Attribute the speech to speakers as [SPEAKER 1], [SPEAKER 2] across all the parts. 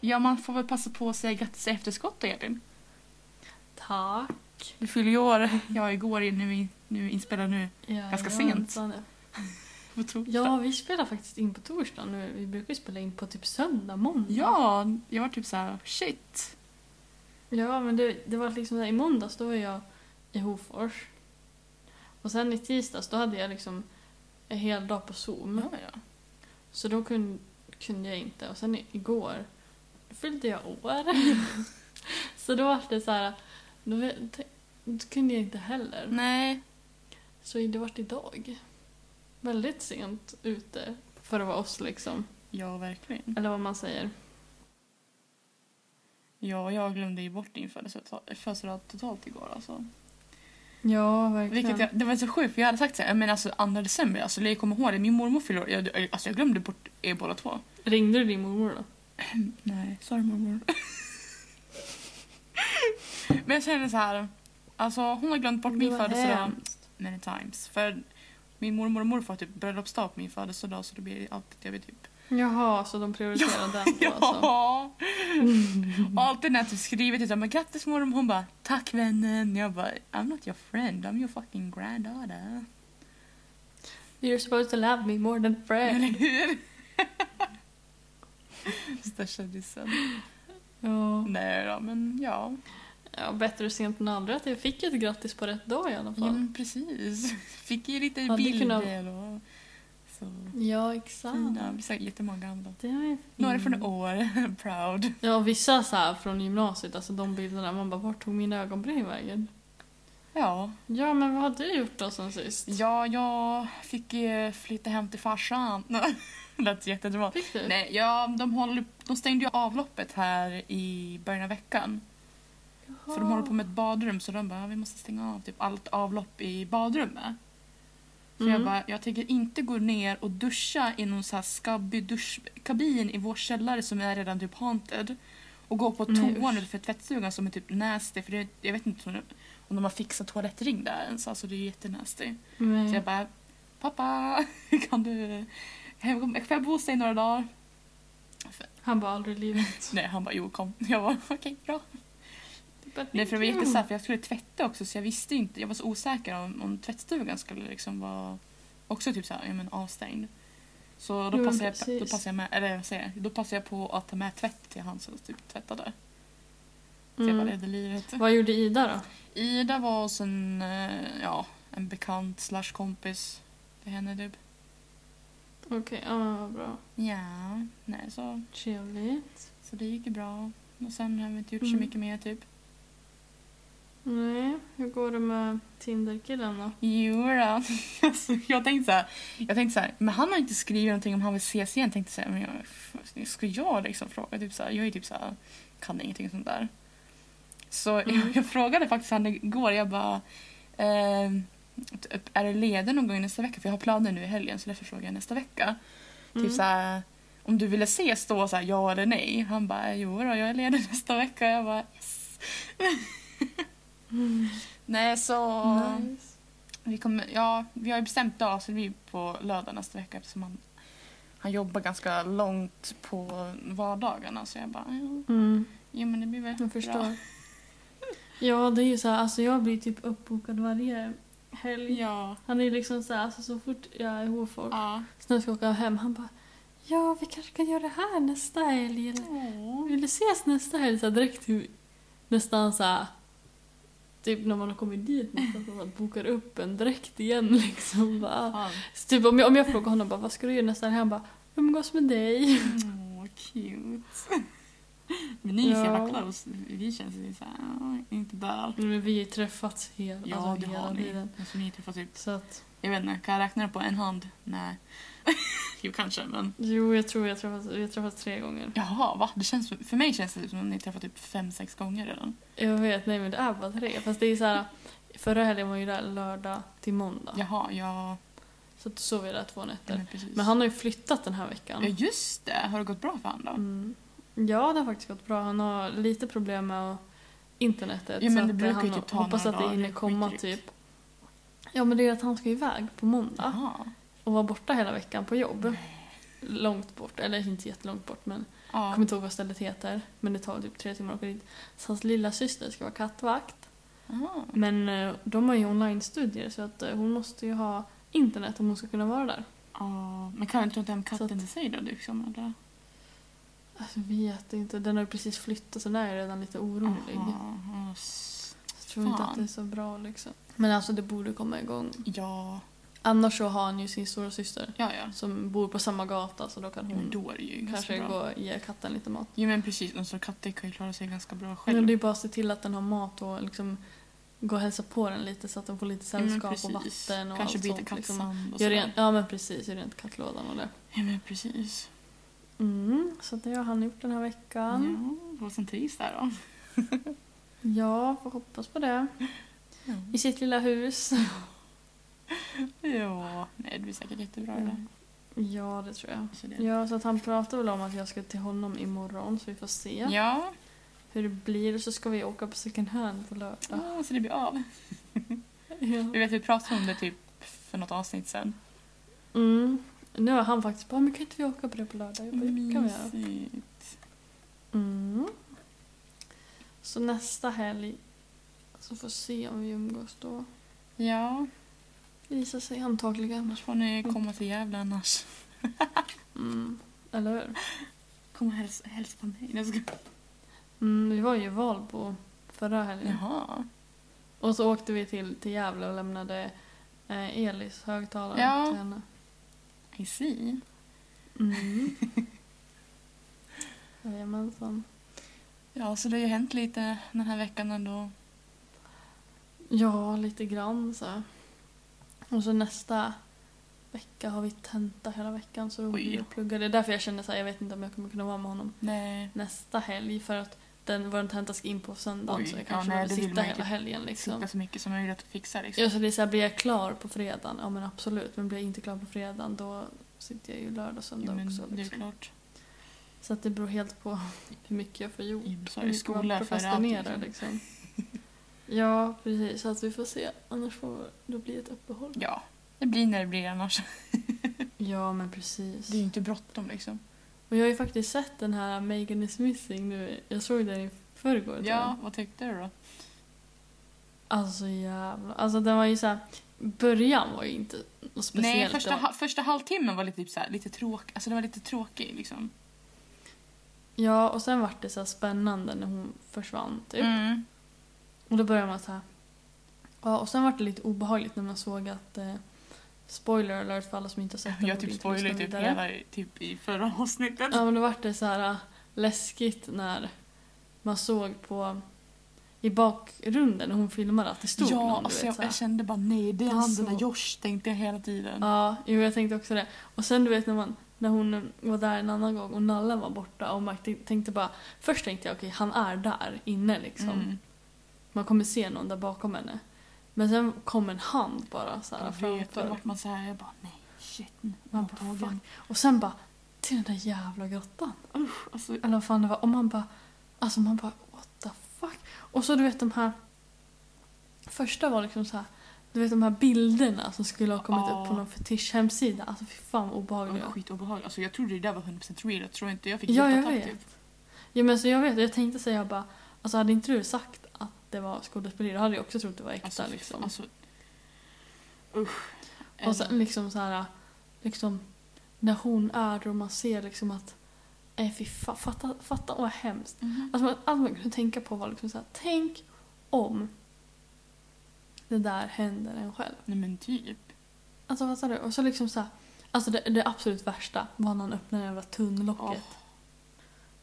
[SPEAKER 1] Ja, man får väl passa på att säga grattis i efterskott då, Edvin.
[SPEAKER 2] Tack.
[SPEAKER 1] Du fyller ju år. Ja, igår är nu, i- nu inspelar nu.
[SPEAKER 2] Ja,
[SPEAKER 1] Ganska
[SPEAKER 2] jag
[SPEAKER 1] sent.
[SPEAKER 2] antar det.
[SPEAKER 1] På torsdag.
[SPEAKER 2] Ja, vi spelar faktiskt in på torsdag nu. Vi brukar ju spela in på typ söndag, måndag.
[SPEAKER 1] Ja, jag var typ så här: shit.
[SPEAKER 2] Ja, men det, det var liksom där, i måndags då var jag i Hofors. Och sen i tisdags då hade jag liksom en hel dag på Zoom.
[SPEAKER 1] Ja, ja.
[SPEAKER 2] Så då kun, kunde jag inte. Och sen i- igår fyllde jag år. så då var det så här, då, vet- då kunde jag inte heller.
[SPEAKER 1] Nej.
[SPEAKER 2] Så det vart idag. Väldigt sent ute för att vara oss liksom.
[SPEAKER 1] Ja, verkligen.
[SPEAKER 2] Eller vad man säger.
[SPEAKER 1] Ja, jag glömde ju bort din födelsedag födelsedag totalt igår alltså.
[SPEAKER 2] Ja, verkligen.
[SPEAKER 1] Vilket jag, det var så sjukt för jag hade sagt såhär, men alltså 2 december, alltså jag kommer ihåg det, min mormor fyller år. Jag, jag- alltså jag glömde bort er båda två.
[SPEAKER 2] Ringde du din mormor då?
[SPEAKER 1] Nej, sorry mormor. men jag känner så här, alltså hon har glömt bort min födelsedag many times. För min mormor och morfar har typ bröllopsdag på min födelsedag så det blir alltid, jag vet typ.
[SPEAKER 2] Jaha, så de prioriterar den då alltså.
[SPEAKER 1] Ja! Och alltid när jag typ skriver till henne, grattis mormor, hon bara tack vännen. Jag bara, I'm not your friend, I'm your fucking granddaughter.
[SPEAKER 2] You're supposed to love me more than
[SPEAKER 1] Eller
[SPEAKER 2] bread.
[SPEAKER 1] hur? Största dissen.
[SPEAKER 2] Ja.
[SPEAKER 1] Nej då, men ja.
[SPEAKER 2] ja, bättre sent än aldrig att jag fick ett grattis på rätt dag i alla
[SPEAKER 1] Ja,
[SPEAKER 2] fall.
[SPEAKER 1] men precis. Fick ju lite
[SPEAKER 2] Hade
[SPEAKER 1] bilder
[SPEAKER 2] kunnat- Ah.
[SPEAKER 1] och så.
[SPEAKER 2] Ja, exakt.
[SPEAKER 1] Fina, vi såg jättemånga andra.
[SPEAKER 2] Det var ju
[SPEAKER 1] Några
[SPEAKER 2] fint.
[SPEAKER 1] från år, proud.
[SPEAKER 2] Ja, vissa så här från gymnasiet, alltså de bilderna, man bara vart tog mina ögonbryn vägen?
[SPEAKER 1] Ja.
[SPEAKER 2] Ja, men vad har du gjort då sen sist?
[SPEAKER 1] ja, jag fick eh, flytta hem till farsan. Lät jättedramatiskt.
[SPEAKER 2] Fick du?
[SPEAKER 1] Nej, ja, de, håller, de stängde ju avloppet här i början av veckan. För
[SPEAKER 2] Ah.
[SPEAKER 1] de håller på med ett badrum så de bara, vi måste stänga av typ allt avlopp i badrummet. Så jag
[SPEAKER 2] Mm.
[SPEAKER 1] bara, jag tänker inte gå ner och duscha i någon så här skabbig duschkabin i vår källare som är redan typ haunted. Och gå på
[SPEAKER 2] Nej,
[SPEAKER 1] toan
[SPEAKER 2] usch.
[SPEAKER 1] utanför tvättstugan som är typ nasty för det, jag vet inte om de- om de har fixat toalettring där ens. Alltså det är jättenasty.
[SPEAKER 2] Nej.
[SPEAKER 1] Så jag bara, pappa kan du, hem- får jag bo hos dig några dagar?
[SPEAKER 2] Han bara aldrig i livet.
[SPEAKER 1] Nej han bara, jo kom. Jag bara, okej bra.
[SPEAKER 2] Bara,
[SPEAKER 1] Nej för det var
[SPEAKER 2] "Thank you."
[SPEAKER 1] jättesåhär, för jag skulle tvätta också så jag visste inte, jag var så osäker om, om tvättstugan skulle liksom vara också typ såhär, ja men avstängd. Så
[SPEAKER 2] Jo,
[SPEAKER 1] då
[SPEAKER 2] men
[SPEAKER 1] passade, jag, då
[SPEAKER 2] precis.
[SPEAKER 1] passade jag med, eller vad säger jag, då passade jag på att ta med tvätt till han som typ tvättade. Så jag bara
[SPEAKER 2] Mm.
[SPEAKER 1] räddade livet.
[SPEAKER 2] Vad gjorde Ida då?
[SPEAKER 1] Ida var hos en, eh, ja, en bekant slash kompis till henne typ.
[SPEAKER 2] Okej, ja men vad bra.
[SPEAKER 1] Ja, nej så,
[SPEAKER 2] Trevligt.
[SPEAKER 1] så det gick ju bra. Och sen har vi inte gjort så
[SPEAKER 2] Mm.
[SPEAKER 1] mycket mer typ.
[SPEAKER 2] Nej, hur går det med Tinderkillen då?
[SPEAKER 1] Jo då. Alltså, jag tänkte så här, jag tänkte så här, men han har inte skrivit någonting om han vill ses igen. Jag tänkte så här, men jag, ska jag liksom fråga? Typ så här, jag är typ så här, kan ingenting sånt där. Så
[SPEAKER 2] Mm.
[SPEAKER 1] jag, jag frågade faktiskt han igår, jag bara, ehm, typ, är du ledig någon gång nästa vecka? För jag har planer nu i helgen så därför frågar jag nästa vecka.
[SPEAKER 2] Mm.
[SPEAKER 1] Typ så här, om du ville ses då, så här, ja eller nej? Han bara, jo då, jag är ledig nästa vecka. Jag bara, yes.
[SPEAKER 2] Mm.
[SPEAKER 1] Nej så...
[SPEAKER 2] Nice.
[SPEAKER 1] Vi, kommer, ja, vi har ju bestämt dag så det blir på lördag nästa vecka eftersom han, han jobbar ganska långt på vardagarna. Så jag bara, ja,
[SPEAKER 2] Mm,
[SPEAKER 1] jo, men det blir väl
[SPEAKER 2] jag förstår.
[SPEAKER 1] bra.
[SPEAKER 2] Ja, det är ju så här, alltså jag blir typ uppbokad varje helg.
[SPEAKER 1] Ja.
[SPEAKER 2] Han är ju liksom så här, alltså så fort jag är i Hofors,
[SPEAKER 1] ja.
[SPEAKER 2] så när jag ska åka hem, han bara Ja, vi kanske kan göra det här nästa helg eller Vill du ses nästa helg? Så här, direkt hur, nästan så här, Typ när man har kommit dit nästan så att man bokar upp en direkt igen liksom. Bara.
[SPEAKER 1] Fan.
[SPEAKER 2] Så typ om jag, om jag frågar honom bara, vad ska du göra nästa helg? Han bara umgås med dig.
[SPEAKER 1] Åh, cute. Men ni är så jävla
[SPEAKER 2] Ja.
[SPEAKER 1] close. Vi känns ju såhär, ja, inte där alls.
[SPEAKER 2] Men vi har ju träffats hela,
[SPEAKER 1] Ja,
[SPEAKER 2] alltså,
[SPEAKER 1] det
[SPEAKER 2] hela
[SPEAKER 1] har ni.
[SPEAKER 2] tiden.
[SPEAKER 1] Alltså, ni träffas typ,
[SPEAKER 2] Så att,
[SPEAKER 1] jag vet inte, kan jag räkna det på en hand? Nej. jo, kanske, men.
[SPEAKER 2] jo jag tror jag träffats, vi har träffats tre gånger.
[SPEAKER 1] Jaha, va? Det känns, för mig känns det som om ni träffat typ fem, sex gånger redan.
[SPEAKER 2] Jag vet, nej men det är bara tre. Fast det är så här, förra helgen var ju där lördag till måndag.
[SPEAKER 1] Jaha, ja. Mm.
[SPEAKER 2] Så att då sov vi där två nätter.
[SPEAKER 1] Men, precis.
[SPEAKER 2] Men han har ju flyttat den här
[SPEAKER 1] Ja
[SPEAKER 2] veckan.
[SPEAKER 1] just det, har det gått bra för honom då?
[SPEAKER 2] Mm. Ja, det har faktiskt gått bra. Han har lite problem med att- internetet.
[SPEAKER 1] Ja, men
[SPEAKER 2] så
[SPEAKER 1] det
[SPEAKER 2] att
[SPEAKER 1] brukar
[SPEAKER 2] han
[SPEAKER 1] ju typ ta
[SPEAKER 2] hoppas
[SPEAKER 1] några
[SPEAKER 2] att det
[SPEAKER 1] dagar.
[SPEAKER 2] hinner komma
[SPEAKER 1] Skitdrygt.
[SPEAKER 2] typ. Ja men det är att han ska iväg på måndag.
[SPEAKER 1] Jaha.
[SPEAKER 2] och var borta hela veckan på jobb. Långt bort, eller inte jättelångt bort men jag
[SPEAKER 1] Ja.
[SPEAKER 2] kommer inte ihåg vad stället heter. Men det tar typ tre timmar att åka dit. Så hans lilla syster ska vara kattvakt.
[SPEAKER 1] Aha.
[SPEAKER 2] Men eh, de har ju online-studier så att eh, hon måste ju ha internet om hon ska kunna vara där.
[SPEAKER 1] Ja, Men kan du inte hem
[SPEAKER 2] Så
[SPEAKER 1] katten
[SPEAKER 2] att-
[SPEAKER 1] till sig då? Liksom, eller?
[SPEAKER 2] Alltså, jag vet inte, den har ju precis flyttat så den är ju redan lite orolig.
[SPEAKER 1] Aha, ja, s-
[SPEAKER 2] Jag tror inte
[SPEAKER 1] Fan.
[SPEAKER 2] att det är så bra liksom. Men alltså det borde komma igång.
[SPEAKER 1] Ja,
[SPEAKER 2] Annars så har han ju sin stora syster
[SPEAKER 1] ja. ja.
[SPEAKER 2] som bor på samma gata så då kan
[SPEAKER 1] Men
[SPEAKER 2] hon
[SPEAKER 1] då är det ju
[SPEAKER 2] Mm. kanske
[SPEAKER 1] ganska bra.
[SPEAKER 2] gå och ge katten lite mat.
[SPEAKER 1] Jo men precis, en stor katt det kan ju klara sig ganska bra själv.
[SPEAKER 2] Men det är bara att se till att den har mat och liksom gå och hälsa på den lite så att den får lite
[SPEAKER 1] Jo, men
[SPEAKER 2] sällskap och
[SPEAKER 1] precis.
[SPEAKER 2] vatten och
[SPEAKER 1] Kanske
[SPEAKER 2] allt
[SPEAKER 1] byta
[SPEAKER 2] sånt. liksom.
[SPEAKER 1] kattsand och
[SPEAKER 2] Gör
[SPEAKER 1] sådär.
[SPEAKER 2] rent, ja men precis, gör rent kattlådan och det.
[SPEAKER 1] Ja men precis.
[SPEAKER 2] Mm, så det har han gjort den här
[SPEAKER 1] Ja,
[SPEAKER 2] veckan.
[SPEAKER 1] Rosen trivs där då.
[SPEAKER 2] Ja, får hoppas på det. I sitt lilla hus.
[SPEAKER 1] Ja, nej det blir säkert jättebra det där.
[SPEAKER 2] Ja, det tror jag.
[SPEAKER 1] Så det.
[SPEAKER 2] Ja, så att han pratade väl om att jag ska till honom imorgon så vi får se
[SPEAKER 1] Ja,
[SPEAKER 2] hur det blir. Så ska vi åka på second hand på lördag.
[SPEAKER 1] ah, så det blir av. Vi
[SPEAKER 2] Ja.
[SPEAKER 1] vet vi pratade om det typ för något avsnitt sen.
[SPEAKER 2] Mm. Nu har han faktiskt bara, men kan inte vi åka på det på lördag? Jag bara, "Det kan vi göra.
[SPEAKER 1] Mysigt.
[SPEAKER 2] Mm. Så nästa helg så får se om vi umgås då.
[SPEAKER 1] Ja,
[SPEAKER 2] Det visar sig antagligen.
[SPEAKER 1] annars får ni komma till Gävle annars.
[SPEAKER 2] Mm. Eller hur?
[SPEAKER 1] Kom och häls hälsa på mig. Jag ska...
[SPEAKER 2] Mm, vi var ju i Valbo förra helgen.
[SPEAKER 1] Jaha.
[SPEAKER 2] Och så åkte vi till, till Gävle och lämnade eh, Elis högtalare
[SPEAKER 1] Ja.
[SPEAKER 2] till henne.
[SPEAKER 1] I see.
[SPEAKER 2] Mm. Jajamensan.
[SPEAKER 1] Ja, så det har ju hänt lite den här veckan ändå.
[SPEAKER 2] Ja, lite grann så. här. Och så nästa vecka har vi tenta hela veckan så då
[SPEAKER 1] Oj.
[SPEAKER 2] blir det plugga. Det är därför jag känner så här, jag vet inte om jag kommer kunna vara med honom
[SPEAKER 1] Nej.
[SPEAKER 2] nästa helg för att den, vår tenta ska in på söndagen
[SPEAKER 1] Oj,
[SPEAKER 2] så jag
[SPEAKER 1] ja,
[SPEAKER 2] kanske
[SPEAKER 1] nej,
[SPEAKER 2] vill
[SPEAKER 1] det vill
[SPEAKER 2] sitta
[SPEAKER 1] man ju
[SPEAKER 2] hela
[SPEAKER 1] typ
[SPEAKER 2] helgen liksom.
[SPEAKER 1] Sitta så mycket som möjligt att fixa liksom.
[SPEAKER 2] Ja, så det är så här, blir jag klar på fredagen? Ja men absolut, men blir jag inte klar på fredagen då sitter jag ju lördag och söndag
[SPEAKER 1] Jo, men
[SPEAKER 2] också.
[SPEAKER 1] det är
[SPEAKER 2] Liksom.
[SPEAKER 1] klart.
[SPEAKER 2] Så att det beror helt på hur mycket jag får gjort.
[SPEAKER 1] Jim sa
[SPEAKER 2] hur
[SPEAKER 1] ju
[SPEAKER 2] mycket Mm, man
[SPEAKER 1] skola före allt.
[SPEAKER 2] prokrastinerar,
[SPEAKER 1] Liksom.
[SPEAKER 2] liksom. Ja, precis. Så att vi får se. Annars får det bli ett uppehåll.
[SPEAKER 1] Ja, det blir när det blir annars.
[SPEAKER 2] Ja, men precis.
[SPEAKER 1] Det är ju inte bråttom liksom.
[SPEAKER 2] Mm. Och jag har ju faktiskt sett den här Megan is missing nu. Jag såg den i förrgår. tror
[SPEAKER 1] Ja,
[SPEAKER 2] jag.
[SPEAKER 1] vad tyckte du då?
[SPEAKER 2] Alltså jävlar. Alltså den var ju så här... Början var ju inte något speciellt.
[SPEAKER 1] Nej,
[SPEAKER 2] Det
[SPEAKER 1] första,
[SPEAKER 2] var-
[SPEAKER 1] ha- första halvtimmen var lite, typ, så här, lite tråkig. Alltså det var lite tråkig liksom.
[SPEAKER 2] Ja, och sen vart det så här spännande när hon försvann typ.
[SPEAKER 1] Mm.
[SPEAKER 2] Och då började man så här. Ja, och sen var det lite obehagligt när man såg att eh, spoiler alert för alla som inte har sett den.
[SPEAKER 1] Jag
[SPEAKER 2] borde
[SPEAKER 1] typ
[SPEAKER 2] inte lyssna
[SPEAKER 1] spoilade ju typ
[SPEAKER 2] vidare.
[SPEAKER 1] hela i- typ, i förra avsnittet.
[SPEAKER 2] Ja, men då var det så här eh, läskigt när man såg på i bakgrunden när hon filmade att det stod
[SPEAKER 1] ja,
[SPEAKER 2] någon. du
[SPEAKER 1] alltså
[SPEAKER 2] vet,
[SPEAKER 1] jag,
[SPEAKER 2] så här.
[SPEAKER 1] jag kände bara nej, det är
[SPEAKER 2] Den
[SPEAKER 1] han den där
[SPEAKER 2] så-
[SPEAKER 1] Josh tänkte jag hela tiden.
[SPEAKER 2] Ja, jo, jag tänkte också det. Och sen du vet när man när hon eh, var där en annan gång och Nallen var borta och man t- tänkte bara först tänkte jag okej han är där inne liksom.
[SPEAKER 1] Mm.
[SPEAKER 2] Man kommer se någon där bakom henne. Men sen kom en hand bara så här
[SPEAKER 1] Jag vet, då
[SPEAKER 2] framför.
[SPEAKER 1] vart man så här, jag bara nej, shit,
[SPEAKER 2] Man
[SPEAKER 1] man
[SPEAKER 2] bara,
[SPEAKER 1] tagen.
[SPEAKER 2] fuck. Och sen bara till den där jävla grottan.
[SPEAKER 1] Alltså,
[SPEAKER 2] Eller vad fan det var. Och man bara, alltså man bara what the fuck. Och så du vet de här, första var liksom så här, du vet de här bilderna som skulle ha kommit
[SPEAKER 1] Ja.
[SPEAKER 2] upp på någon fetisch-hemsida. Alltså fy fan vad
[SPEAKER 1] det var
[SPEAKER 2] obehagliga.
[SPEAKER 1] skitobehagligt. Alltså jag trodde det där var 100% real, jag tror inte jag fick typ.
[SPEAKER 2] Ja, jag
[SPEAKER 1] hjärtattack
[SPEAKER 2] vet. Ja men så jag vet, jag tänkte säga jag bara, alltså hade inte du sagt att det var skådespeleri då hade jag också trott det var äkta
[SPEAKER 1] Alltså, fy-
[SPEAKER 2] liksom.
[SPEAKER 1] alltså, usch.
[SPEAKER 2] Och sen liksom så här, liksom när hon är där och man ser liksom att, nej fy fan, fatta, fatta vad hemskt.
[SPEAKER 1] Mhm.
[SPEAKER 2] Alltså, man- allt man kunde tänka på var liksom så här, tänk om det där händer en själv.
[SPEAKER 1] Nej men typ.
[SPEAKER 2] Alltså fattar du? Och så liksom så här, alltså det, det absolut värsta var när han öppnade det jävla tunnlocket.
[SPEAKER 1] Åh.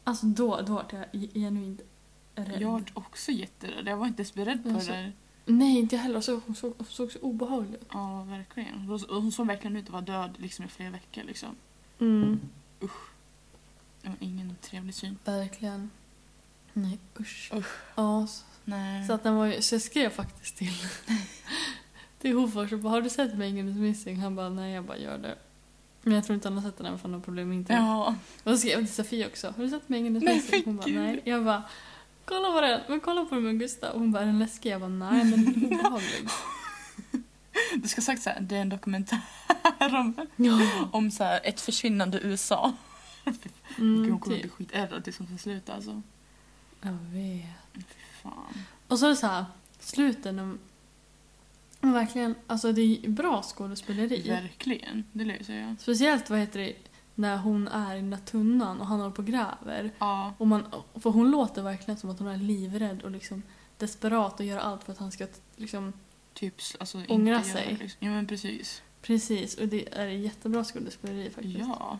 [SPEAKER 2] Alltså då, då var jag ge- genuint rädd.
[SPEAKER 1] Jag var också jätterädd. Jag var inte ens beredd på
[SPEAKER 2] Alltså-
[SPEAKER 1] det där.
[SPEAKER 2] Nej, inte jag heller. Och så, hon, såg, hon såg så obehaglig ut.
[SPEAKER 1] Ja, verkligen. Hon, hon såg verkligen ut att vara död liksom, i flera veckor. Liksom.
[SPEAKER 2] Mm,
[SPEAKER 1] Det var ingen trevlig syn.
[SPEAKER 2] verkligen. Nej, usch.
[SPEAKER 1] Usch.
[SPEAKER 2] Ja, så,
[SPEAKER 1] Nej.
[SPEAKER 2] så, att den var, ju- så jag skrev faktiskt till, till Hofors och bara har du sett Megan is missing? Han bara nej, jag bara gör det. Men jag tror inte han har sett den än för han har problem med internet.
[SPEAKER 1] ja.
[SPEAKER 2] Och så skrev jag till Sofie också. Har du sett Megan is
[SPEAKER 1] Nej,
[SPEAKER 2] missing? Hon bara
[SPEAKER 1] gud.
[SPEAKER 2] nej. Jag bara kolla på den. Men kolla på den med Gustav. Och Hon bara är den läskig? Jag bara nej, men den är obehaglig.
[SPEAKER 1] Du ska ha sagt såhär, det är en dokumentär. om,
[SPEAKER 2] Ja.
[SPEAKER 1] om så här, ett försvinnande USA.
[SPEAKER 2] Mm,
[SPEAKER 1] hon kommer bli
[SPEAKER 2] typ.
[SPEAKER 1] skitärrad tills hon får sluta alltså.
[SPEAKER 2] Jag vet.
[SPEAKER 1] Fan.
[SPEAKER 2] Och så är det så här, sluten om... om Verkligen, alltså det är bra skådespeleri.
[SPEAKER 1] Verkligen, det lär jag säga.
[SPEAKER 2] Speciellt vad heter det, när hon är i den där tunnan och han håller på och gräver.
[SPEAKER 1] Ja.
[SPEAKER 2] Och man, för hon låter verkligen som att hon är livrädd och liksom desperat och gör allt för att han ska liksom...
[SPEAKER 1] Typ s- alltså, inte
[SPEAKER 2] Ångra
[SPEAKER 1] göra
[SPEAKER 2] sig.
[SPEAKER 1] Liksom. Ja men precis.
[SPEAKER 2] Precis, och det är jättebra skådespeleri faktiskt.
[SPEAKER 1] Ja.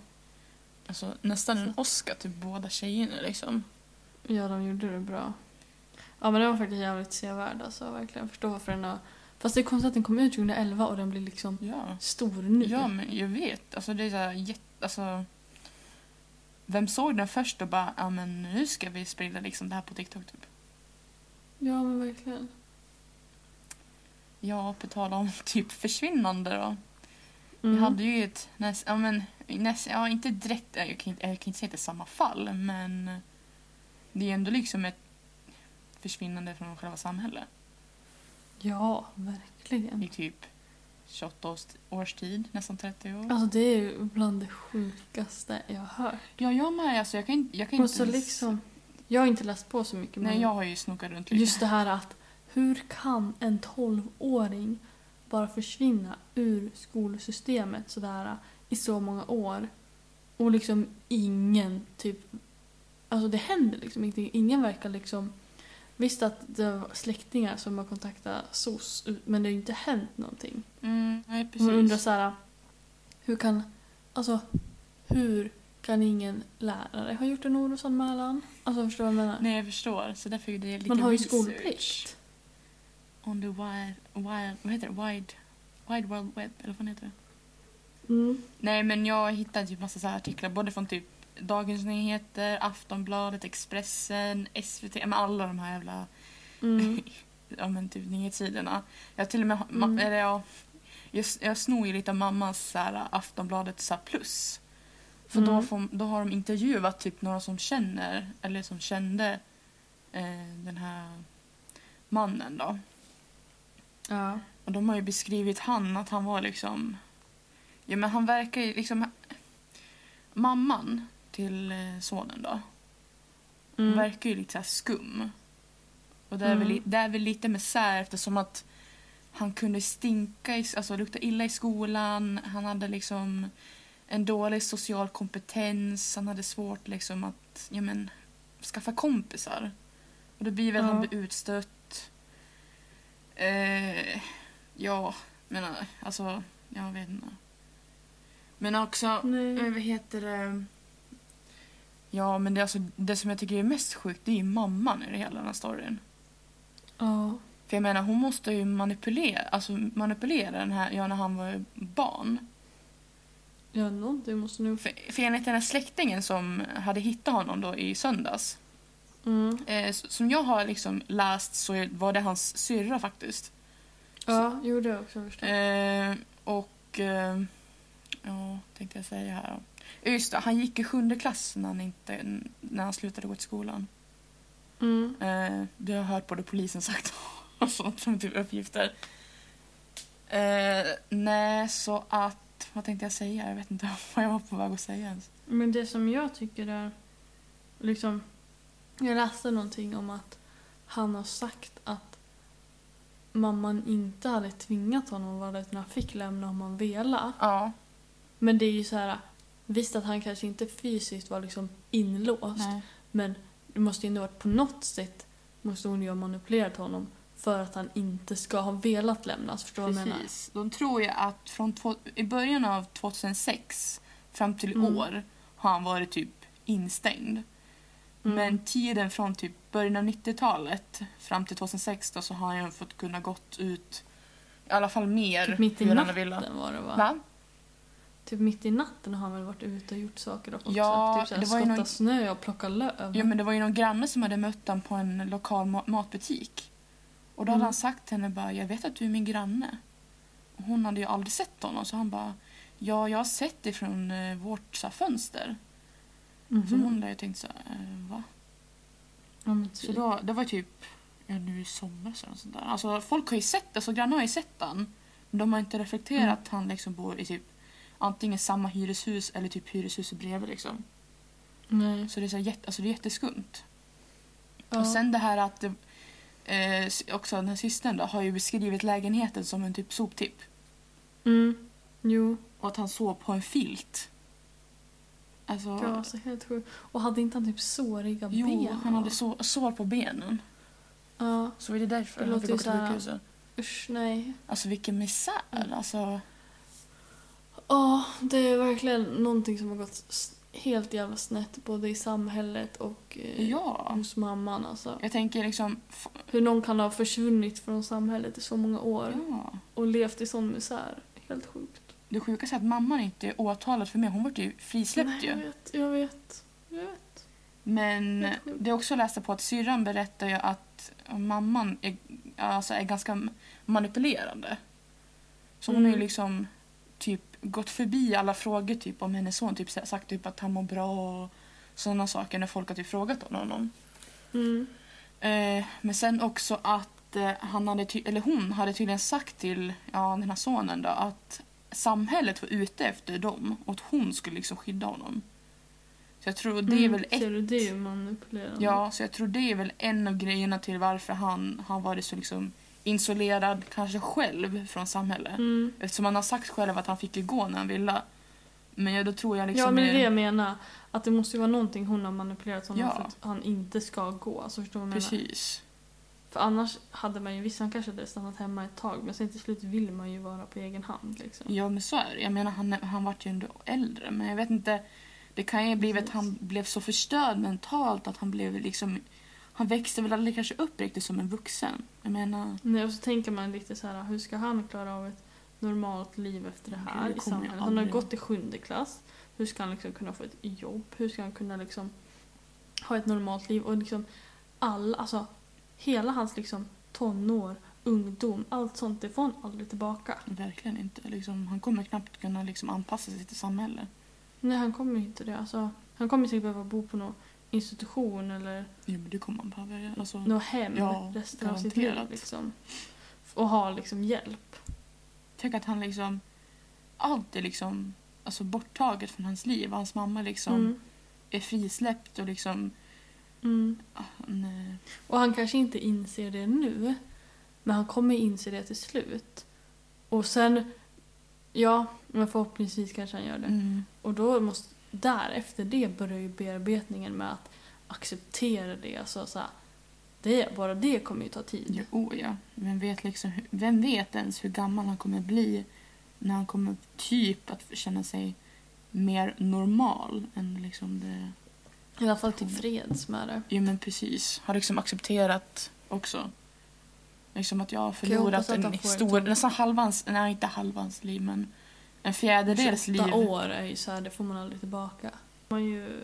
[SPEAKER 1] Alltså nästan en Oscar till båda tjejerna liksom.
[SPEAKER 2] Ja, de gjorde det bra. Ja, men den var faktiskt jävligt sevärd alltså, verkligen. Jag förstår varför den har... Fast det är konstigt att den kom ut 2011 och den blir liksom
[SPEAKER 1] Ja.
[SPEAKER 2] stor nu.
[SPEAKER 1] Ja men jag vet. Alltså det är så här jätte... Alltså, vem såg den först och bara ja men nu ska vi sprida liksom det här på TikTok typ.
[SPEAKER 2] ja men verkligen.
[SPEAKER 1] Ja, på tal om typ försvinnande då. Vi
[SPEAKER 2] Mm.
[SPEAKER 1] hade ju ett, näst, ja men, näst, ja inte direkt, jag kan inte, jag kan inte säga att det är samma fall, men det är ändå liksom ett försvinnande från själva samhället
[SPEAKER 2] Ja, verkligen.
[SPEAKER 1] i typ 28 års, års tid, nästan 30 år.
[SPEAKER 2] Alltså det är ju bland det sjukaste jag har hört.
[SPEAKER 1] Ja, jag med, alltså jag kan, inte- jag kan
[SPEAKER 2] Och
[SPEAKER 1] inte
[SPEAKER 2] så
[SPEAKER 1] ens-
[SPEAKER 2] liksom, jag har inte läst på så mycket
[SPEAKER 1] Nej, jag har ju snokat runt lite.
[SPEAKER 2] just det här att hur kan en 12-åring bara försvinna ur skolsystemet sådär i så många år och liksom ingen typ, alltså det händer liksom ingenting. Ingen verkar liksom, visst att det var släktingar som har kontaktat SOS men det har ju inte hänt någonting.
[SPEAKER 1] Mm, nej,
[SPEAKER 2] Och Man undrar
[SPEAKER 1] precis.
[SPEAKER 2] så här, hur kan, alltså, hur kan ingen lärare ha gjort en orosanmälan? Alltså förstår du vad jag menar?
[SPEAKER 1] Nej, jag förstår. Så därför är det lite
[SPEAKER 2] Man har ju
[SPEAKER 1] research
[SPEAKER 2] skolplikt.
[SPEAKER 1] On the wide, wide, vad heter det? Wide, wide World Web, eller vad heter det?
[SPEAKER 2] Mm.
[SPEAKER 1] Nej, men jag hittade typ massa så här artiklar, både från typ Dagens Nyheter, Aftonbladet, Expressen, SVT, ja, men alla de här jävla
[SPEAKER 2] Mm.
[SPEAKER 1] ja, men typ nyhetssidorna. Jag till och med, ma-
[SPEAKER 2] Mm.
[SPEAKER 1] eller jag, jag, jag snor ju lite av mammas så här, Aftonbladet så här, plus. För då,
[SPEAKER 2] Mm.
[SPEAKER 1] får, då har de intervjuat typ några som känner, eller som kände eh, den här mannen då.
[SPEAKER 2] Ja.
[SPEAKER 1] Och de har ju beskrivit han att han var liksom... Ja men han verkar ju liksom... Mamman till eh, sonen då, hon
[SPEAKER 2] Mm.
[SPEAKER 1] verkar ju lite så här skum. Och det är, väl,
[SPEAKER 2] Mm.
[SPEAKER 1] li- det är väl lite med sär eftersom att han kunde stinka, i, alltså lukta illa i skolan, han hade liksom en dålig social kompetens, han hade svårt liksom att, ja men, skaffa kompisar. Och det blir väl att han
[SPEAKER 2] Ja.
[SPEAKER 1] blir utstött. Eh, ja, men eh, alltså, jag vet inte. Men också, Eh,
[SPEAKER 2] Nej.
[SPEAKER 1] Vad heter det? Ja, men det, är alltså, det som jag tycker är mest sjukt det är ju mamman i det hela den här storyn.
[SPEAKER 2] Ja.
[SPEAKER 1] För jag menar, hon måste ju manipulera, alltså manipulera den här, ja, när han var barn.
[SPEAKER 2] Ja, någonting måste nog...
[SPEAKER 1] För, för enligt den här släktingen som hade hittat honom då i söndags,
[SPEAKER 2] Mm.
[SPEAKER 1] eh, s- som jag har liksom läst så är- var det hans syrra faktiskt.
[SPEAKER 2] Ja, jo det har jag också förstått.
[SPEAKER 1] Eh, och... Eh, ja, tänkte jag säga här då. Ja, Just det, han gick i sjunde klass när han, inte, när han slutade gå till skolan.
[SPEAKER 2] Mm.
[SPEAKER 1] Eh, det har jag hört både polisen sagt och sånt som typ uppgifter. Eh, nej, så att... Vad tänkte jag säga? Jag vet inte vad jag var på väg att säga ens.
[SPEAKER 2] Men det som jag tycker är liksom jag läste någonting om att han har sagt att mamman inte hade tvingat honom att vara där utan han fick lämna om han ville.
[SPEAKER 1] Ja,
[SPEAKER 2] Men det är ju så här visst att han kanske inte fysiskt var liksom inlåst
[SPEAKER 1] nej.
[SPEAKER 2] men det måste ju ändå varit på något sätt måste hon ju ha manipulerat honom för att han inte ska ha velat lämnas. Förstår du vad jag menar?
[SPEAKER 1] precis. De tror ju att från två, i början av 2006 fram till i
[SPEAKER 2] Mm.
[SPEAKER 1] år har han varit typ instängd.
[SPEAKER 2] Mm.
[SPEAKER 1] Men tiden från typ början av 90-talet fram till 2006 då, så har han ju fått kunna gått ut i alla fall mer.
[SPEAKER 2] typ mitt i
[SPEAKER 1] hur han har velat.
[SPEAKER 2] natten var det va?
[SPEAKER 1] Va?
[SPEAKER 2] Typ mitt i natten har han väl varit ute och gjort saker dock också.
[SPEAKER 1] Ja,
[SPEAKER 2] typ såhär,
[SPEAKER 1] det var ju
[SPEAKER 2] skottat
[SPEAKER 1] någon-
[SPEAKER 2] snö och plockat löv.
[SPEAKER 1] Ja, men det var ju någon granne som hade mött honom på en lokal ma- matbutik. Och då hade
[SPEAKER 2] Mm.
[SPEAKER 1] han sagt till henne bara, jag vet att du är min granne. Och hon hade ju aldrig sett honom så han bara, ja jag har sett dig från eh, vårt så här, fönster.
[SPEAKER 2] Mhm.
[SPEAKER 1] Så hon lär ju tänkt så här, "Eh, va?
[SPEAKER 2] ja, men typ.
[SPEAKER 1] Så då, det var typ ja, nu i somras eller något sånt där. Alltså folk har ju sett det, så grannar har ju sett han. Men de har inte reflekterat
[SPEAKER 2] Mm.
[SPEAKER 1] att han liksom bor i typ antingen samma hyreshus eller typ hyreshuset bredvid liksom.
[SPEAKER 2] Nej.
[SPEAKER 1] Så det är, så här, jätte, alltså det är jätteskumt.
[SPEAKER 2] Ja.
[SPEAKER 1] Och sen det här att det, eh, s- också den här systern då, har ju beskrivit lägenheten som en typ soptipp.
[SPEAKER 2] Mm. Jo.
[SPEAKER 1] Och att han sov på en filt. Alltså,
[SPEAKER 2] Ja, alltså helt sjukt. Och hade inte han typ såriga ben?
[SPEAKER 1] jo, han hade sår, sår på benen.
[SPEAKER 2] Ja.
[SPEAKER 1] Så är det därför
[SPEAKER 2] Det
[SPEAKER 1] han
[SPEAKER 2] låter
[SPEAKER 1] fick gå
[SPEAKER 2] ju
[SPEAKER 1] till
[SPEAKER 2] så här-
[SPEAKER 1] sjukhuset.
[SPEAKER 2] Usch, nej.
[SPEAKER 1] Alltså vilken misär.
[SPEAKER 2] Mm.
[SPEAKER 1] Alltså,
[SPEAKER 2] Ja, det är verkligen någonting som har gått s- helt jävla snett både i samhället och eh,
[SPEAKER 1] ja.
[SPEAKER 2] hos mamman alltså.
[SPEAKER 1] Jag tänker liksom... f-
[SPEAKER 2] Hur någon kan ha försvunnit från samhället i så många år
[SPEAKER 1] Ja.
[SPEAKER 2] och levt i sån misär. Helt sjukt.
[SPEAKER 1] Det sjukaste är att mamman inte är åtalad för mer. Hon vart ju frisläppt
[SPEAKER 2] nej, jag
[SPEAKER 1] ju.
[SPEAKER 2] vet, jag vet. Jag vet.
[SPEAKER 1] Men
[SPEAKER 2] Helt sjukt.
[SPEAKER 1] det är också läste på att syrran berättar ju att mamman är, alltså är ganska manipulerande. Så hon har
[SPEAKER 2] Mm.
[SPEAKER 1] ju liksom typ gått förbi alla frågor typ om hennes son. Typ sagt typ att han mår bra och sådana saker när folk har typ frågat om honom.
[SPEAKER 2] Mm.
[SPEAKER 1] Eh, men sen också att eh, han hade ty- eller hon hade tydligen sagt till ja, den här sonen då, att samhället var ute efter dem och att hon skulle liksom skydda honom. Så jag tror det är
[SPEAKER 2] Mm,
[SPEAKER 1] väl ett,
[SPEAKER 2] Ser du, det är ju manipulerande.
[SPEAKER 1] ja, så jag tror det är väl en av grejerna till varför han har varit så liksom isolerad, kanske själv, från samhället.
[SPEAKER 2] Mm.
[SPEAKER 1] Eftersom han har sagt själv att han fick ju gå när han ville. Men ja, då tror jag liksom...
[SPEAKER 2] ja, men det är det
[SPEAKER 1] mer-
[SPEAKER 2] jag menar. Att det måste ju vara någonting hon har manipulerat honom
[SPEAKER 1] Ja.
[SPEAKER 2] för att han inte ska gå. Alltså, förstår du vad jag menar?
[SPEAKER 1] Precis.
[SPEAKER 2] För annars hade man ju, visst han kanske hade stannat hemma ett tag men sen till slut vill man ju vara på egen hand liksom.
[SPEAKER 1] Ja men så är det. Jag menar han, han vart ju ändå äldre men jag vet inte. Det kan ju bli att
[SPEAKER 2] Precis.
[SPEAKER 1] han blev så förstörd mentalt att han blev liksom. Han växte väl aldrig kanske upp riktigt som en vuxen. Jag menar.
[SPEAKER 2] Nej, och så tänker man lite så här, hur ska han klara av ett normalt liv efter det här
[SPEAKER 1] Gud, det
[SPEAKER 2] i
[SPEAKER 1] kommer jag
[SPEAKER 2] samhället? Han har
[SPEAKER 1] aldrig.
[SPEAKER 2] gått i sjunde klass. Hur ska han liksom kunna få ett jobb? Hur ska han kunna liksom ha ett normalt liv? Och liksom all, alltså hela hans liksom tonår, ungdom, allt sånt, det får han aldrig tillbaka.
[SPEAKER 1] Verkligen inte. Liksom, han kommer knappt kunna liksom anpassa sig till samhället.
[SPEAKER 2] Nej, han kommer ju inte det. Alltså, han kommer säkert behöva bo på någon institution eller
[SPEAKER 1] Jo men det kommer han behöva göra. Alltså,
[SPEAKER 2] nå hem
[SPEAKER 1] Mm. Ja,
[SPEAKER 2] resten av sitt liv.
[SPEAKER 1] garanterat.
[SPEAKER 2] Liksom. Och ha liksom hjälp.
[SPEAKER 1] Tänk att han liksom. Allt är liksom. Alltså borttaget från hans liv. Hans mamma liksom
[SPEAKER 2] Mm.
[SPEAKER 1] är frisläppt och liksom.
[SPEAKER 2] Mm.
[SPEAKER 1] ah, Nej.
[SPEAKER 2] Och han kanske inte inser det nu, men han kommer inse det till slut. Och sen, ja, men förhoppningsvis kanske han gör det.
[SPEAKER 1] Mm.
[SPEAKER 2] Och då måste, där, efter det börjar ju bearbetningen med att acceptera det. Alltså så här, det, bara det kommer ju ta tid.
[SPEAKER 1] Ja, oh ja. Vem vet, liksom, hur- vem vet ens hur gammal han kommer bli när han kommer typ att känna sig mer normal än liksom det...
[SPEAKER 2] I alla fall till freds med det.
[SPEAKER 1] Jo men precis. Har liksom accepterat också. Liksom att jag har
[SPEAKER 2] jag hoppas
[SPEAKER 1] förlorat
[SPEAKER 2] att
[SPEAKER 1] en
[SPEAKER 2] han får
[SPEAKER 1] stor,
[SPEAKER 2] ett-
[SPEAKER 1] nästan halvans, nej inte halvans liv men en fjärdedels liv.
[SPEAKER 2] 28 år är ju så här, det får man aldrig tillbaka. Man ju...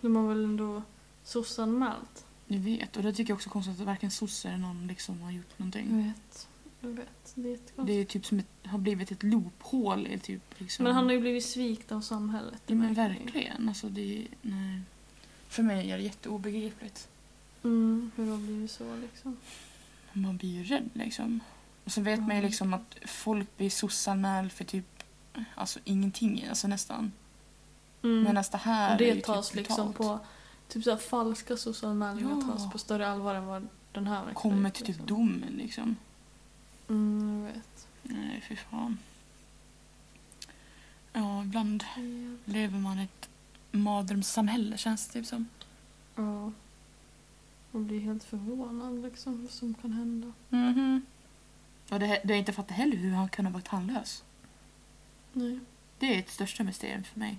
[SPEAKER 2] De har väl ändå sossanmält?
[SPEAKER 1] Jag vet och det tycker jag också är konstigt att varken sosse eller någon liksom har gjort
[SPEAKER 2] Jag
[SPEAKER 1] någonting.
[SPEAKER 2] vet. Jag vet. Det är
[SPEAKER 1] Det
[SPEAKER 2] jättekonstigt.
[SPEAKER 1] är typ som ett, har blivit ett loophål i typ liksom...
[SPEAKER 2] Men han har ju blivit svikt av samhället. det
[SPEAKER 1] Ja, men
[SPEAKER 2] märker man ju.
[SPEAKER 1] verkligen. Alltså det, nej. För mig är det jätteobegripligt.
[SPEAKER 2] Mm, hur har det blivit så liksom?
[SPEAKER 1] Man blir ju rädd liksom. Och så vet man ju
[SPEAKER 2] Ja.
[SPEAKER 1] liksom att folk blir sossanmäld för typ alltså ingenting, alltså nästan.
[SPEAKER 2] Mm.
[SPEAKER 1] Medan det här
[SPEAKER 2] och
[SPEAKER 1] är
[SPEAKER 2] det
[SPEAKER 1] ju
[SPEAKER 2] tas
[SPEAKER 1] typ
[SPEAKER 2] liksom
[SPEAKER 1] brutalt.
[SPEAKER 2] på... Typ såhär falska socialanmälningar
[SPEAKER 1] Ja.
[SPEAKER 2] tas på större allvar än vad den här verkar
[SPEAKER 1] Kommer
[SPEAKER 2] gjort,
[SPEAKER 1] till typ
[SPEAKER 2] liksom.
[SPEAKER 1] domen liksom.
[SPEAKER 2] Mm, jag vet.
[SPEAKER 1] Nej, fy fan. Ja, ibland lever man i ett mardrömssamhälle känns det typ som.
[SPEAKER 2] Ja. Man blir helt förvånad liksom, vad som kan hända.
[SPEAKER 1] Mhm. Och det, det är inte fattat heller hur han kan ha varit tandlös.
[SPEAKER 2] Nej.
[SPEAKER 1] Det är ett största mysterium för mig.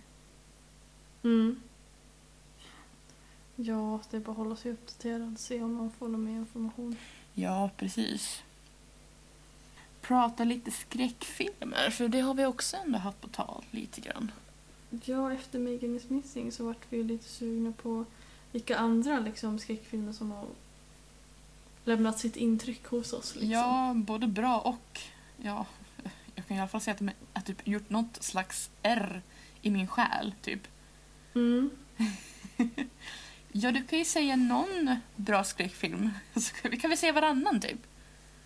[SPEAKER 2] Mm. Ja, det är bara att hålla sig uppdaterad, se om man får någon mer information.
[SPEAKER 1] Ja, precis. Prata lite skräckfilmer, för det har vi också ändå haft på tal lite grann.
[SPEAKER 2] Ja, efter Megan is missing så vart vi ju lite sugna på vilka andra liksom, skräckfilmer som har lämnat sitt intryck hos oss. Liksom.
[SPEAKER 1] Ja, både bra och... Ja, jag kan i alla fall säga att de har typ gjort något slags R i min själ, typ.
[SPEAKER 2] Mm.
[SPEAKER 1] Ja, du kan ju säga någon bra skräckfilm. Så kan vi kan väl se varannan, typ.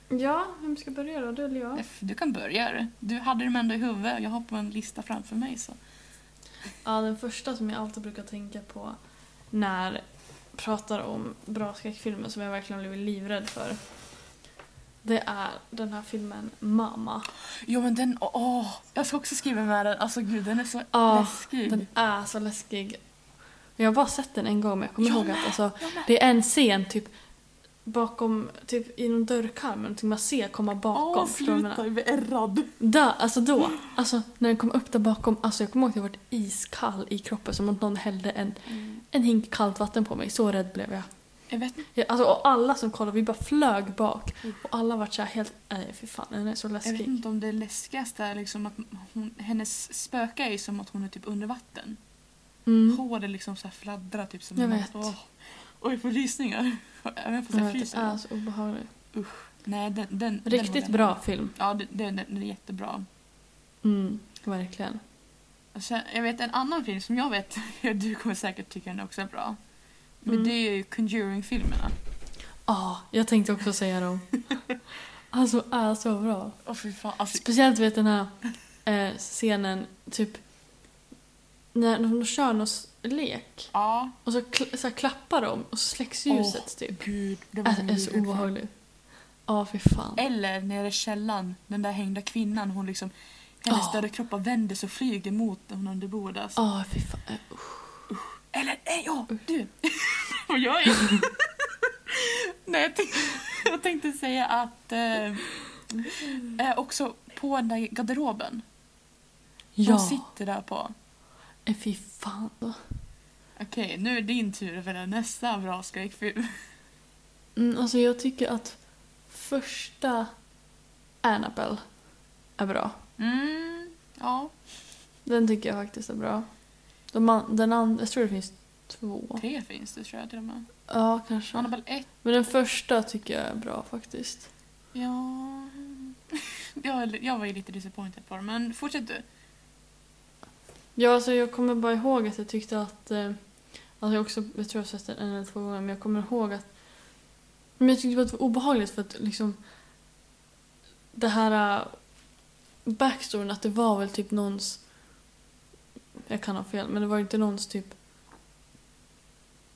[SPEAKER 2] Ja, vem ska börja då? Du eller jag?
[SPEAKER 1] F, Du kan börja. du. Du hade dem ändå i huvudet och jag har på en lista framför mig. Så.
[SPEAKER 2] Ja, den första som jag alltid brukar tänka på när jag pratar om bra skräckfilmer som jag verkligen blivit livrädd för. Det är den här filmen Mamma.
[SPEAKER 1] Jo men den, åh! åh, jag ska också skriva med den. Alltså gud, den är så
[SPEAKER 2] Ja,
[SPEAKER 1] läskig.
[SPEAKER 2] Den är så läskig. Jag har bara sett den en gång men jag kommer
[SPEAKER 1] Jag
[SPEAKER 2] ihåg att
[SPEAKER 1] med,
[SPEAKER 2] alltså,
[SPEAKER 1] jag med.
[SPEAKER 2] det är en scen typ bakom, typ i någon dörrkarm eller någonting man ser komma bakom.
[SPEAKER 1] Åh,
[SPEAKER 2] förstår du vad jag menar?
[SPEAKER 1] sluta, jag blir ärrad.
[SPEAKER 2] Där, alltså då, alltså när den kom upp där bakom, alltså jag kommer ihåg att jag varit iskall i kroppen som om någon hällde en, en hink kallt vatten på mig. Så rädd blev jag.
[SPEAKER 1] Mm. Jag vet inte,
[SPEAKER 2] jag alltså, och alla som kollade, vi bara flög bak. Och alla vart såhär helt, nej fy fan den är så
[SPEAKER 1] jag vet
[SPEAKER 2] läskig.
[SPEAKER 1] inte om Mm. det läskigaste är liksom att hon, hennes spöke är ju som att hon är typ under vatten.
[SPEAKER 2] Mm.
[SPEAKER 1] Håret liksom så här fladdrar typ som
[SPEAKER 2] Jag
[SPEAKER 1] en-
[SPEAKER 2] vet.
[SPEAKER 1] Åh. Oj, jag får rysningar. Även fast
[SPEAKER 2] Jag
[SPEAKER 1] jag
[SPEAKER 2] vet, det
[SPEAKER 1] fryser.
[SPEAKER 2] är så obehagligt.
[SPEAKER 1] Nej, den, den, den håller
[SPEAKER 2] Riktigt
[SPEAKER 1] jag med.
[SPEAKER 2] bra film.
[SPEAKER 1] Ja, den, den, den är jättebra.
[SPEAKER 2] Mm, verkligen.
[SPEAKER 1] Och sen, Alltså, jag vet en annan film som jag vet, du kommer säkert tycka den också är bra. Men
[SPEAKER 2] Mm.
[SPEAKER 1] det är ju Conjuring-filmerna.
[SPEAKER 2] Ja, jag tänkte också säga dem. Alltså är så bra.
[SPEAKER 1] Åh fy fan. Alltså,
[SPEAKER 2] Speciellt vet den här eh, scenen, typ när de kör någon s- lek.
[SPEAKER 1] ja.
[SPEAKER 2] Och så, kl- så här klappar de och så släcks ljuset typ.
[SPEAKER 1] Gud, det var
[SPEAKER 2] Alltså,
[SPEAKER 1] jag
[SPEAKER 2] det är så
[SPEAKER 1] livrädd för.
[SPEAKER 2] obehagligt. Ja, fy fan.
[SPEAKER 1] Eller nere i källan, den där hängda kvinnan, hon liksom hennes
[SPEAKER 2] Ja.
[SPEAKER 1] döda kroppar vänder sig och flyger mot hon under bordet. Alltså,
[SPEAKER 2] Ja, fy fan. Eh,
[SPEAKER 1] Eller nej, ja, du! Vad gör jag? nej, jag tänkte, jag tänkte säga att eh, eh, också på den där garderoben.
[SPEAKER 2] Ja,
[SPEAKER 1] Hon sitter där på.
[SPEAKER 2] eh, fy fan.
[SPEAKER 1] Okej, nu är det din tur för den nästa bra skräckfilm.
[SPEAKER 2] Mm, alltså jag tycker att första Annabelle är bra.
[SPEAKER 1] Mm, ja,
[SPEAKER 2] Den tycker jag faktiskt är bra. De, an- den andra, jag tror det finns två.
[SPEAKER 1] tre finns det tror jag till och med.
[SPEAKER 2] Ja, kanske.
[SPEAKER 1] Annabelle 1,
[SPEAKER 2] Men den första tycker jag är bra faktiskt.
[SPEAKER 1] ja... Jag, jag var ju lite disappointed på det, men fortsätt du.
[SPEAKER 2] Ja, alltså jag kommer bara ihåg att jag tyckte att... Eh, alltså jag, också, jag tror jag har sett den en eller två gånger, men jag kommer ihåg att... Men jag tyckte bara att det var obehagligt för att liksom... Det här... eh, Backstoryn, att det var väl typ någons... Jag kan ha fel, men det var inte någons typ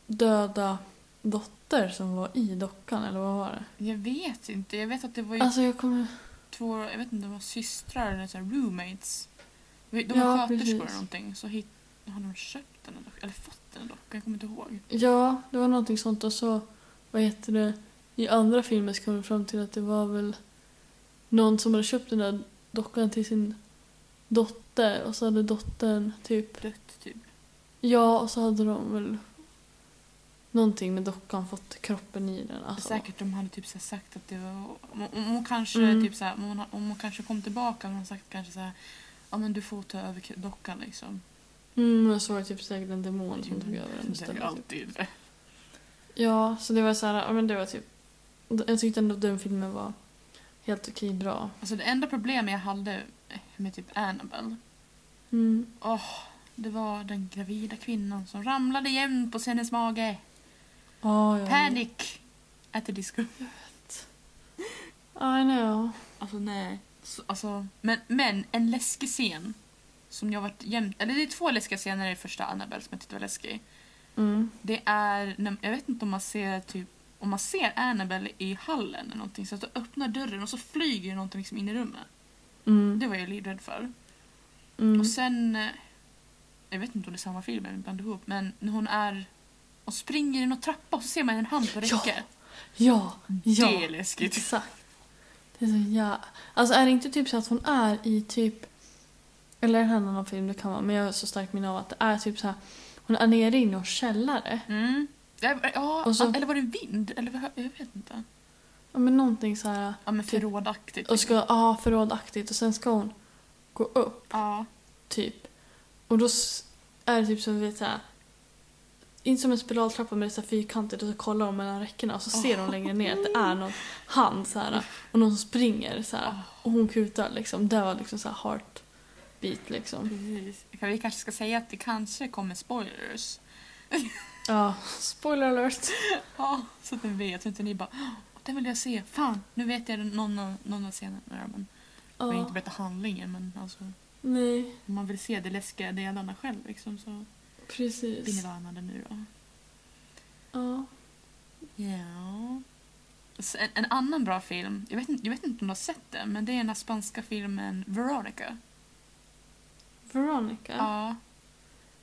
[SPEAKER 2] döda dotter som var i dockan, eller vad var det?
[SPEAKER 1] Jag vet inte. Jag vet att det var ju
[SPEAKER 2] Alltså jag kommer...
[SPEAKER 1] två, jag vet inte, de var systrar eller så här roommates. De var
[SPEAKER 2] Ja,
[SPEAKER 1] sköterskor eller
[SPEAKER 2] precis.
[SPEAKER 1] någonting. Så hit, har de köpt den dock, eller fått den dock? Jag kommer inte ihåg.
[SPEAKER 2] Ja, det var någonting sånt och så, vad heter det, i andra filmer så kom de fram till att det var väl någon som hade köpt den där dockan till sin dotter och så hade dottern typ,
[SPEAKER 1] Dött typ.
[SPEAKER 2] ja och så hade de väl någonting med dockan fått kroppen i den. Alltså.
[SPEAKER 1] Säkert de hade typ så här sagt att det var... Om, om hon kanske
[SPEAKER 2] Mm.
[SPEAKER 1] typ så här, om, hon, om hon kanske kom tillbaka hade hon sagt kanske så här, ja men du får ta över k- dockan liksom.
[SPEAKER 2] Mm, och så var det typ säkert en demon som tog över den
[SPEAKER 1] det är ju
[SPEAKER 2] istället. Typ.
[SPEAKER 1] alltid det.
[SPEAKER 2] Ja, så det var så här, ja, men det var typ, jag tyckte ändå den filmen var helt okej bra.
[SPEAKER 1] Alltså det enda problemet jag hade med typ Annabelle
[SPEAKER 2] Mm.
[SPEAKER 1] det var den gravida kvinnan som ramlade jämnt på hennes mage.
[SPEAKER 2] Ah, ja,
[SPEAKER 1] Panic at the disco.
[SPEAKER 2] I know.
[SPEAKER 1] Alltså nej. Så, alltså, men, men en läskig scen. Som jag varit jämt... Eller det är två läskiga scener i första Annabelle som jag tyckte var läskig.
[SPEAKER 2] Mm.
[SPEAKER 1] Det är, när, jag vet inte om man ser typ... Om man ser Annabelle i hallen eller någonting så att du öppnar dörren och så flyger ju någonting liksom in i rummet.
[SPEAKER 2] Mm.
[SPEAKER 1] Det var jag livrädd för.
[SPEAKER 2] Mm.
[SPEAKER 1] Och sen... eh, Jag vet inte om det är samma film eller blandar ihop men när hon är... Och springer i någon trappa och så ser man en hand på
[SPEAKER 2] Ja,
[SPEAKER 1] räcket.
[SPEAKER 2] Ja, ja.
[SPEAKER 1] Det är läskigt.
[SPEAKER 2] Exakt. Det är så ja. Alltså är det inte typ så att hon är i typ... Eller en annan film det kan vara, men jag har så starkt minne av att det är typ så här. Hon är nere i någon källare.
[SPEAKER 1] Mm. Ja, ja,
[SPEAKER 2] Och så-
[SPEAKER 1] eller var det vind? Eller vad- jag vet inte.
[SPEAKER 2] Ja men någonting så här.
[SPEAKER 1] Ja men
[SPEAKER 2] Typ.
[SPEAKER 1] förrådaktigt.
[SPEAKER 2] Och ska, ja förrådaktigt och sen ska hon gå upp
[SPEAKER 1] Ja.
[SPEAKER 2] typ. Och då s- är det typ som vet så här. Inte som en spiraltrappa men det är så här fyrkantigt och så kollar de mellan räckena och så ser de längre ner att det är någon hand så här, och någon som springer så här, och hon kutar liksom. Det var liksom så här heartbeat liksom.
[SPEAKER 1] Precis. Kan Vi kanske ska säga att det kanske kommer spoilers.
[SPEAKER 2] Ja, spoiler alert.
[SPEAKER 1] Ja, så att ni vet. Så inte ni bara "Åh, den vill jag se. Fan, nu vet jag någon av, någon av scenerna. Ja, men, Jag vill inte
[SPEAKER 2] Ja.
[SPEAKER 1] berätta handlingen men alltså,
[SPEAKER 2] Nej,
[SPEAKER 1] om man vill se de läskiga delarna själv liksom, så blir ni
[SPEAKER 2] precis.
[SPEAKER 1] varnade nu då.
[SPEAKER 2] Ja.
[SPEAKER 1] Ja. Så En, en annan bra film, jag vet, inte- jag vet inte om du har sett den, men det är den här spanska filmen Veronica.
[SPEAKER 2] Veronica?
[SPEAKER 1] Ja.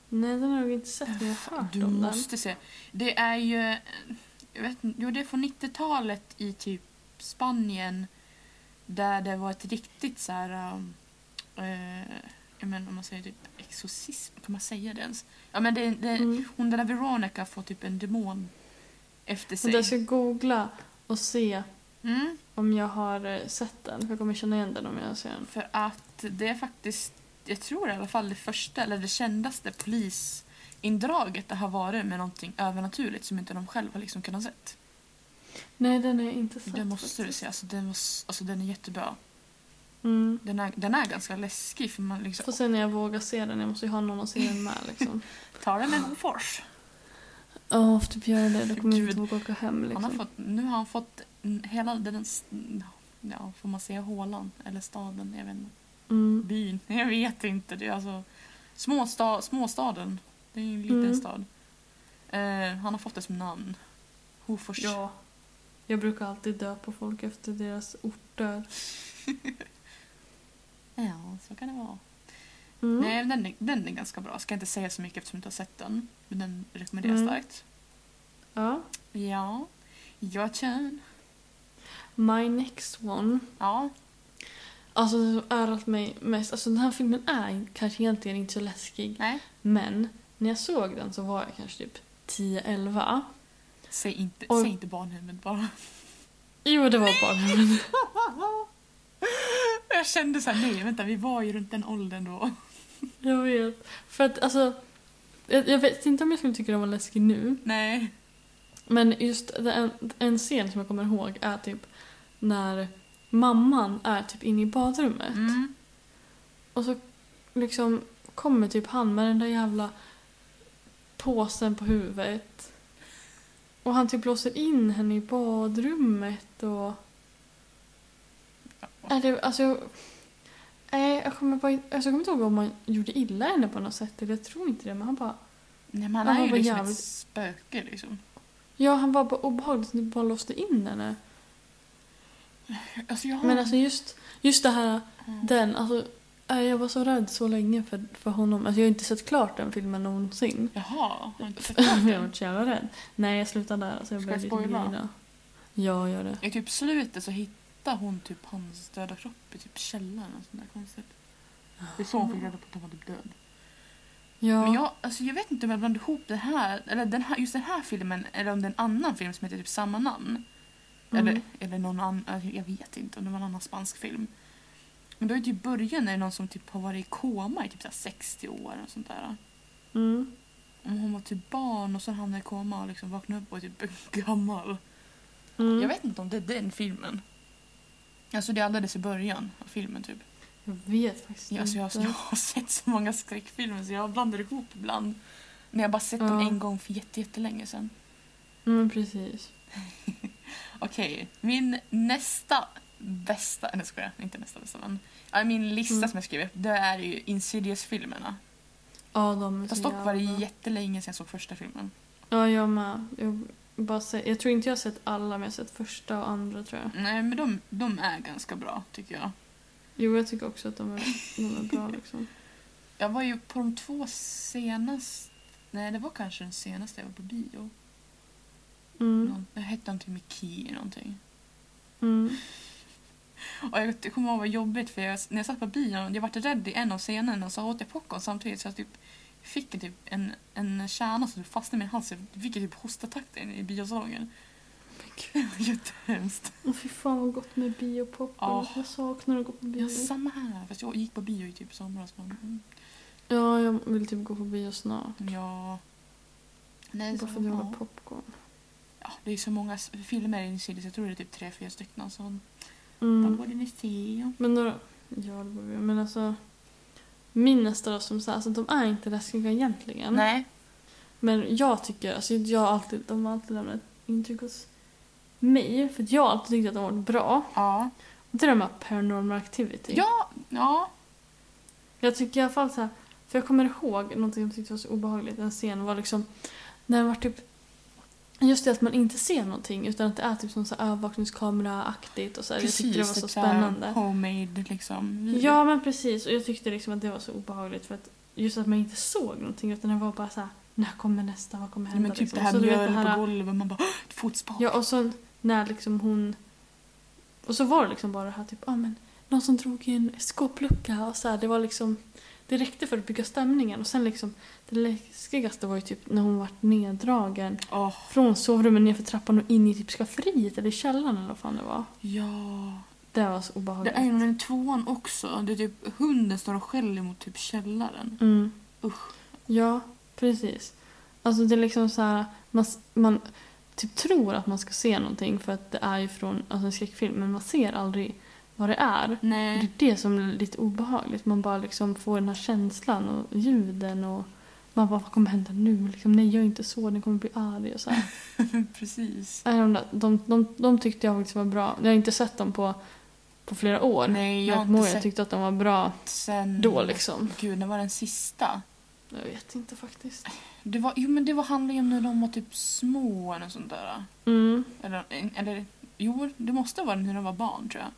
[SPEAKER 2] Nej, den har jag inte sett, men jag har hört
[SPEAKER 1] Du
[SPEAKER 2] om
[SPEAKER 1] måste se. Det är ju... eh, Jag vet inte, jo, det är från 90-talet i typ Spanien där det var ett riktigt så här... um, eh, jag menar om man säger typ exorcism, kan man säga det ens? Ja men det, det,
[SPEAKER 2] den. Mm.
[SPEAKER 1] hon den där Veronica får typ en demon efter
[SPEAKER 2] Men
[SPEAKER 1] sig.
[SPEAKER 2] jag ska googla och se
[SPEAKER 1] Mm,
[SPEAKER 2] om jag har eh, sett den. För jag kommer känna igen den om jag ser den.
[SPEAKER 1] för att det är faktiskt, jag tror i alla fall det första eller det kändaste polisindraget det har varit med någonting övernaturligt som inte de själva liksom kunnat sett.
[SPEAKER 2] Nej, den har jag inte sett.
[SPEAKER 1] Den måste du
[SPEAKER 2] faktiskt.
[SPEAKER 1] se. Alltså, den, var, s- alltså, den är jättebra.
[SPEAKER 2] Mm.
[SPEAKER 1] Den är, den är ganska läskig för man
[SPEAKER 2] Får
[SPEAKER 1] liksom
[SPEAKER 2] se när jag vågar se den. Jag måste ju ha någon att se den med liksom.
[SPEAKER 1] tar den med Bofors.
[SPEAKER 2] Ja, oh, typ gör det. Då kommer jag inte våga åka hem
[SPEAKER 1] Han har
[SPEAKER 2] liksom.
[SPEAKER 1] fått, nu har han fått mm, hela den, s- mm, ja får man säga hålan eller staden, jag vet inte.
[SPEAKER 2] Mm.
[SPEAKER 1] Byn, jag vet inte. Det är alltså småsta, småstaden. Det är ju en liten
[SPEAKER 2] Mm.
[SPEAKER 1] stad. Eh, han har fått det som namn. Hofors.
[SPEAKER 2] Ja. Jag brukar alltid döpa folk efter deras orter.
[SPEAKER 1] ja, så kan det vara.
[SPEAKER 2] Mm.
[SPEAKER 1] Nej, den är, den är ganska bra. Ska inte säga så mycket eftersom jag inte har sett den. Men den rekommenderas
[SPEAKER 2] Mm.
[SPEAKER 1] starkt.
[SPEAKER 2] Ja.
[SPEAKER 1] Ja, your turn.
[SPEAKER 2] My next one.
[SPEAKER 1] Ja,
[SPEAKER 2] Alltså det som örat mig mest. Alltså den här filmen är kanske egentligen inte så läskig.
[SPEAKER 1] nej.
[SPEAKER 2] Men när jag såg den så var jag kanske typ 10-11.
[SPEAKER 1] Säg inte,
[SPEAKER 2] Och-
[SPEAKER 1] säg inte barnhemmet bara.
[SPEAKER 2] Jo, det var barnhemmet.
[SPEAKER 1] Jag kände så här, nej vänta, vi var ju runt den åldern då.
[SPEAKER 2] Jag vet. För att alltså... Jag, jag vet inte om jag skulle tycka den var läskig nu.
[SPEAKER 1] Nej.
[SPEAKER 2] Men just en, en scen som jag kommer ihåg är typ när mamman är typ inne i badrummet.
[SPEAKER 1] Mm.
[SPEAKER 2] Och så liksom kommer typ han med den där jävla påsen på huvudet. Och han typ låser in henne i badrummet och... Är det, alltså, jag, nej, jag, kommer bara, in- alltså, jag kommer inte ihåg om han gjorde illa henne på något sätt. Eller jag tror inte det, men han bara...
[SPEAKER 1] Nej, man
[SPEAKER 2] Ja,
[SPEAKER 1] är
[SPEAKER 2] hon
[SPEAKER 1] ju
[SPEAKER 2] var
[SPEAKER 1] liksom ett
[SPEAKER 2] jävligt-
[SPEAKER 1] spöke liksom.
[SPEAKER 2] Ja, han var bara obehagligt typ bara låste in henne.
[SPEAKER 1] Alltså jag har...
[SPEAKER 2] Men alltså just, just det här,
[SPEAKER 1] Mm.
[SPEAKER 2] den, alltså... eh, Jag var så rädd så länge för, för honom. Alltså jag har inte sett klart den filmen någonsin.
[SPEAKER 1] Jaha, har inte sett klart
[SPEAKER 2] Men jag
[SPEAKER 1] den?
[SPEAKER 2] var så jävla rädd. Nej, jag slutar där. Så jag
[SPEAKER 1] Ska
[SPEAKER 2] blev
[SPEAKER 1] jag
[SPEAKER 2] lite
[SPEAKER 1] spoila?
[SPEAKER 2] glida. Ja, gör det.
[SPEAKER 1] I typ slutet så hittar hon typ hans döda kropp i typ källaren. Och sånt där konstigt. Det är så hon fick reda på att han var typ död.
[SPEAKER 2] Ja.
[SPEAKER 1] Men jag, alltså jag vet inte om jag blandade ihop det här, eller den här, just den här filmen, eller om det är en annan film som heter typ samma namn.
[SPEAKER 2] Mm.
[SPEAKER 1] Eller, eller någon annan, jag vet inte om det var en annan spansk film. Men då är det ju i början är det någon som typ har varit i koma i typ så här 60 år och sånt där.
[SPEAKER 2] Mm.
[SPEAKER 1] Om hon var typ barn och sen hamnade i koma och liksom vaknade upp och är typ gammal.
[SPEAKER 2] Mm.
[SPEAKER 1] Jag vet inte om det är den filmen. Alltså det är alldeles i början av filmen typ.
[SPEAKER 2] Jag vet faktiskt
[SPEAKER 1] Ja, alltså jag,
[SPEAKER 2] inte.
[SPEAKER 1] jag har sett så många skräckfilmer så jag blandar ihop ibland. Men jag har bara sett dem
[SPEAKER 2] Ja.
[SPEAKER 1] en gång för jätte- jättelänge sedan.
[SPEAKER 2] Mm, precis.
[SPEAKER 1] Okej, min nästa bästa, nej skojar, inte nästa bästa men ja, min lista
[SPEAKER 2] Mm.
[SPEAKER 1] som jag skrev upp det är ju Insidious-filmerna.
[SPEAKER 2] Ja, de är så
[SPEAKER 1] Fast dock var det
[SPEAKER 2] jävla-
[SPEAKER 1] jättelänge sedan jag såg första filmen.
[SPEAKER 2] Ja, jag med. Jag, bara se... jag tror inte jag har sett alla, men jag har sett första och andra tror jag.
[SPEAKER 1] Nej men de, de är ganska bra tycker jag.
[SPEAKER 2] Jo, jag tycker också att de är, de är bra liksom.
[SPEAKER 1] Jag var ju på de två senaste, nej det var kanske den senaste jag var på bio.
[SPEAKER 2] Mm.
[SPEAKER 1] Någon, det hette någonting med Key någonting.
[SPEAKER 2] Mm.
[SPEAKER 1] Och jag det kommer ihåg vad jobbigt för jag, när jag satt på bion, jag vart rädd i en av scenerna och så åt jag popcorn samtidigt så jag typ fick en, typ, en, en kärna som typ fastnade i min hals. Jag fick ju typ hostattack in i biosalongen.
[SPEAKER 2] Men gud.
[SPEAKER 1] Det var jättehemskt.
[SPEAKER 2] Åh, fy fan vad gott med biopopcorn.
[SPEAKER 1] Ja.
[SPEAKER 2] Jag saknar att gå på bio.
[SPEAKER 1] Ja, samma här. Fast jag gick på bio i typ somras. Men, mm,
[SPEAKER 2] Ja, jag vill typ gå på bio snart.
[SPEAKER 1] ja. Nej, så,
[SPEAKER 2] Bara för att jag vill
[SPEAKER 1] ja.
[SPEAKER 2] ha popcorn.
[SPEAKER 1] ja, det är så många s- filmer i Insidious. Jag tror det är typ tre, fyra stycken. Så vad
[SPEAKER 2] Mm.
[SPEAKER 1] borde ni se?
[SPEAKER 2] Men några... Ja, det borde vi. Men alltså... Min nästa då som sagt, alltså de är inte läskiga egentligen.
[SPEAKER 1] Nej.
[SPEAKER 2] Men jag tycker, alltså jag har alltid, de har alltid lämnat intryck hos mig, för att jag har alltid tyckte att de har varit bra.
[SPEAKER 1] Ja.
[SPEAKER 2] Och det är de här Paranormal Activity.
[SPEAKER 1] Ja, ja.
[SPEAKER 2] Jag tycker i alla fall så här, för jag kommer ihåg någonting jag tyckte var så obehagligt, en scen var liksom när det var typ Just det att man inte ser någonting utan att det är typ som så här övervakningskamera-aktigt och så här. jag tyckte det var så
[SPEAKER 1] typ såhär
[SPEAKER 2] spännande.
[SPEAKER 1] Homemade liksom. video.
[SPEAKER 2] Ja men precis och jag tyckte liksom att det var så obehagligt för att just att man inte såg någonting utan det var bara så här: när kommer nästa, vad kommer
[SPEAKER 1] Nej,
[SPEAKER 2] hända?
[SPEAKER 1] men typ
[SPEAKER 2] liksom.
[SPEAKER 1] det här
[SPEAKER 2] så du vet
[SPEAKER 1] mjöl
[SPEAKER 2] det här-
[SPEAKER 1] på golvet man bara "Åh, ett fotspår.
[SPEAKER 2] Ja, och så när liksom hon... Och så var det liksom bara det här typ, ah, men någon som drog i en skåplucka och så här, det var liksom... Det räckte för att bygga stämningen och sen liksom det läskigaste var ju typ när hon vart neddragen
[SPEAKER 1] Åh,
[SPEAKER 2] från sovrummet nerför trappan och in i typ skafferiet eller i källaren eller vad fan det var.
[SPEAKER 1] ja.
[SPEAKER 2] Det var så
[SPEAKER 1] Det
[SPEAKER 2] obehagligt.
[SPEAKER 1] är ju den tvåan också. Det är typ hunden står och skäller mot typ källaren.
[SPEAKER 2] Mm.
[SPEAKER 1] Usch.
[SPEAKER 2] Ja, precis. Alltså det är liksom så här, man, s- man typ tror att man ska se någonting för att det är ju från alltså en skräckfilm men man ser aldrig vad det är. Det
[SPEAKER 1] Nej.
[SPEAKER 2] är det som är lite obehagligt. Man bara liksom får den här känslan och ljuden och man bara, vad kommer hända nu? Liksom, nej, gör inte så, den kommer bli arg och så här. Mm,
[SPEAKER 1] Precis.
[SPEAKER 2] Nej, de, där- de, de, de tyckte jag faktiskt var bra. Jag har inte sett dem på, på flera år.
[SPEAKER 1] Nej, jag har
[SPEAKER 2] jag,
[SPEAKER 1] inte
[SPEAKER 2] kommer ihåg, jag
[SPEAKER 1] sett Mm.
[SPEAKER 2] tyckte att de var bra
[SPEAKER 1] sen...
[SPEAKER 2] då liksom.
[SPEAKER 1] Gud, när var den sista?
[SPEAKER 2] Jag vet inte faktiskt.
[SPEAKER 1] Det var, jo, men det var handlade ju om när de var typ små eller något sånt där.
[SPEAKER 2] Mm.
[SPEAKER 1] Eller, eller jo, det måste vara när de var barn tror jag.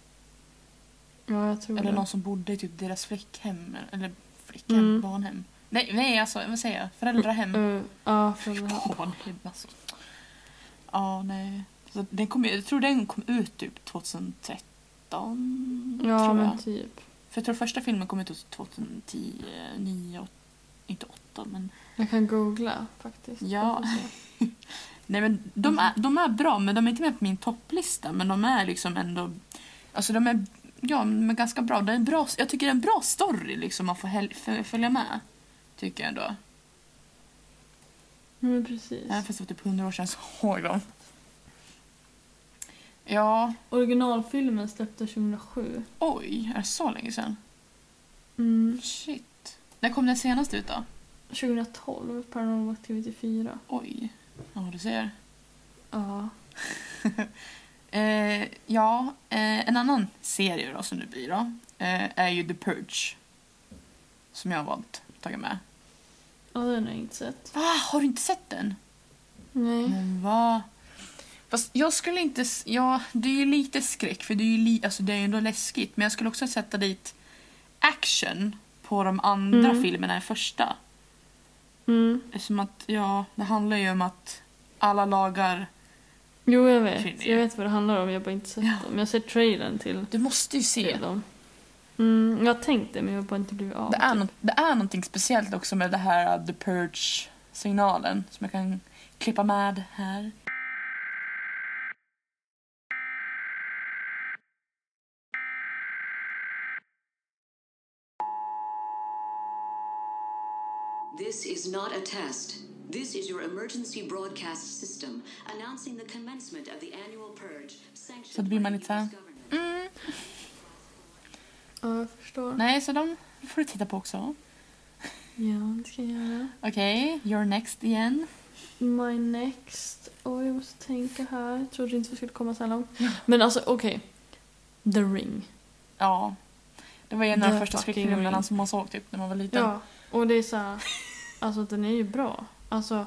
[SPEAKER 2] Ja, jag tror
[SPEAKER 1] Eller
[SPEAKER 2] det.
[SPEAKER 1] någon som bodde i typ deras flickhem. Eller flickhem,
[SPEAKER 2] Mm.
[SPEAKER 1] barnhem. Nej, nej alltså vad säger jag? Föräldrahem.
[SPEAKER 2] Eh, ja, för det här.
[SPEAKER 1] Barnhem alltså. Ja, nej. Så den kom, ju- jag tror den kom ut typ 2013.
[SPEAKER 2] Ja,
[SPEAKER 1] tror jag.
[SPEAKER 2] men typ.
[SPEAKER 1] För jag tror första filmen kom ut 2010, 9, åt- inte 8 men.
[SPEAKER 2] Jag kan googla faktiskt.
[SPEAKER 1] Ja.
[SPEAKER 2] Jag får se.
[SPEAKER 1] Nej men de är, de är bra men de är inte med på min topplista men de är liksom ändå, alltså de är, ja men ganska bra. Det är en bra jag tycker det är en bra story liksom man får häl- fö- följa med. Tycker jag ändå.
[SPEAKER 2] Men precis.
[SPEAKER 1] Även fast det var typ 100 år sedan så såg dem. Ja,
[SPEAKER 2] Originalfilmen släpptes 2007.
[SPEAKER 1] oj, är det så länge sedan?
[SPEAKER 2] Mm.
[SPEAKER 1] Shit. När kom den senaste ut då?
[SPEAKER 2] 2012, Paranormal Activity 4.
[SPEAKER 1] Oj. Ja, du ser.
[SPEAKER 2] Ja.
[SPEAKER 1] Eh, ja, eh, en annan serie då som det blir då eh, är ju The Purge. Som jag har valt att ta med.
[SPEAKER 2] Ja, den har jag inte sett.
[SPEAKER 1] Va, har du inte sett den?
[SPEAKER 2] Nej.
[SPEAKER 1] Men va? Fast jag skulle inte... s- Ja, det är ju lite skräck för det är ju li, alltså det är ju ändå läskigt men jag skulle också sätta dit action på de andra
[SPEAKER 2] Mm.
[SPEAKER 1] filmerna än första.
[SPEAKER 2] Mm.
[SPEAKER 1] Eftersom att, ja, det handlar ju om att alla lagar...
[SPEAKER 2] Jo, jag vet.
[SPEAKER 1] Finner
[SPEAKER 2] Jag
[SPEAKER 1] jag.
[SPEAKER 2] vet vad det handlar om. Jag har bara inte sett
[SPEAKER 1] Ja.
[SPEAKER 2] dem. Jag har sett trailern till,
[SPEAKER 1] Du måste ju se.
[SPEAKER 2] till dem. Mm, jag har tänkt det, men jag har bara inte blivit av.
[SPEAKER 1] Det är,
[SPEAKER 2] typ.
[SPEAKER 1] något, det är någonting speciellt också med det här uh, The Purge-signalen som jag kan klippa med här.
[SPEAKER 3] This is not a test. This is your emergency broadcast system announcing the commencement of the annual purge
[SPEAKER 1] Så det
[SPEAKER 3] sanctioned
[SPEAKER 1] blir
[SPEAKER 3] by
[SPEAKER 1] man
[SPEAKER 3] the
[SPEAKER 1] lite så här,
[SPEAKER 3] US government.
[SPEAKER 1] Mm.
[SPEAKER 2] Ja, jag förstår.
[SPEAKER 1] Nej, så de får du titta på också.
[SPEAKER 2] Ja, det ska jag göra.
[SPEAKER 1] Okej, you're next igen.
[SPEAKER 2] My next. Oj, jag måste tänka här. Jag trodde inte vi skulle komma så här långt. Men alltså, okej. The ring.
[SPEAKER 1] Ja. Det var ju en av de
[SPEAKER 2] The
[SPEAKER 1] första
[SPEAKER 2] fucking
[SPEAKER 1] skräckfilmerna
[SPEAKER 2] ring.
[SPEAKER 1] som man såg typ när man var liten.
[SPEAKER 2] Ja, och det är så här, Alltså den är ju bra. Alltså,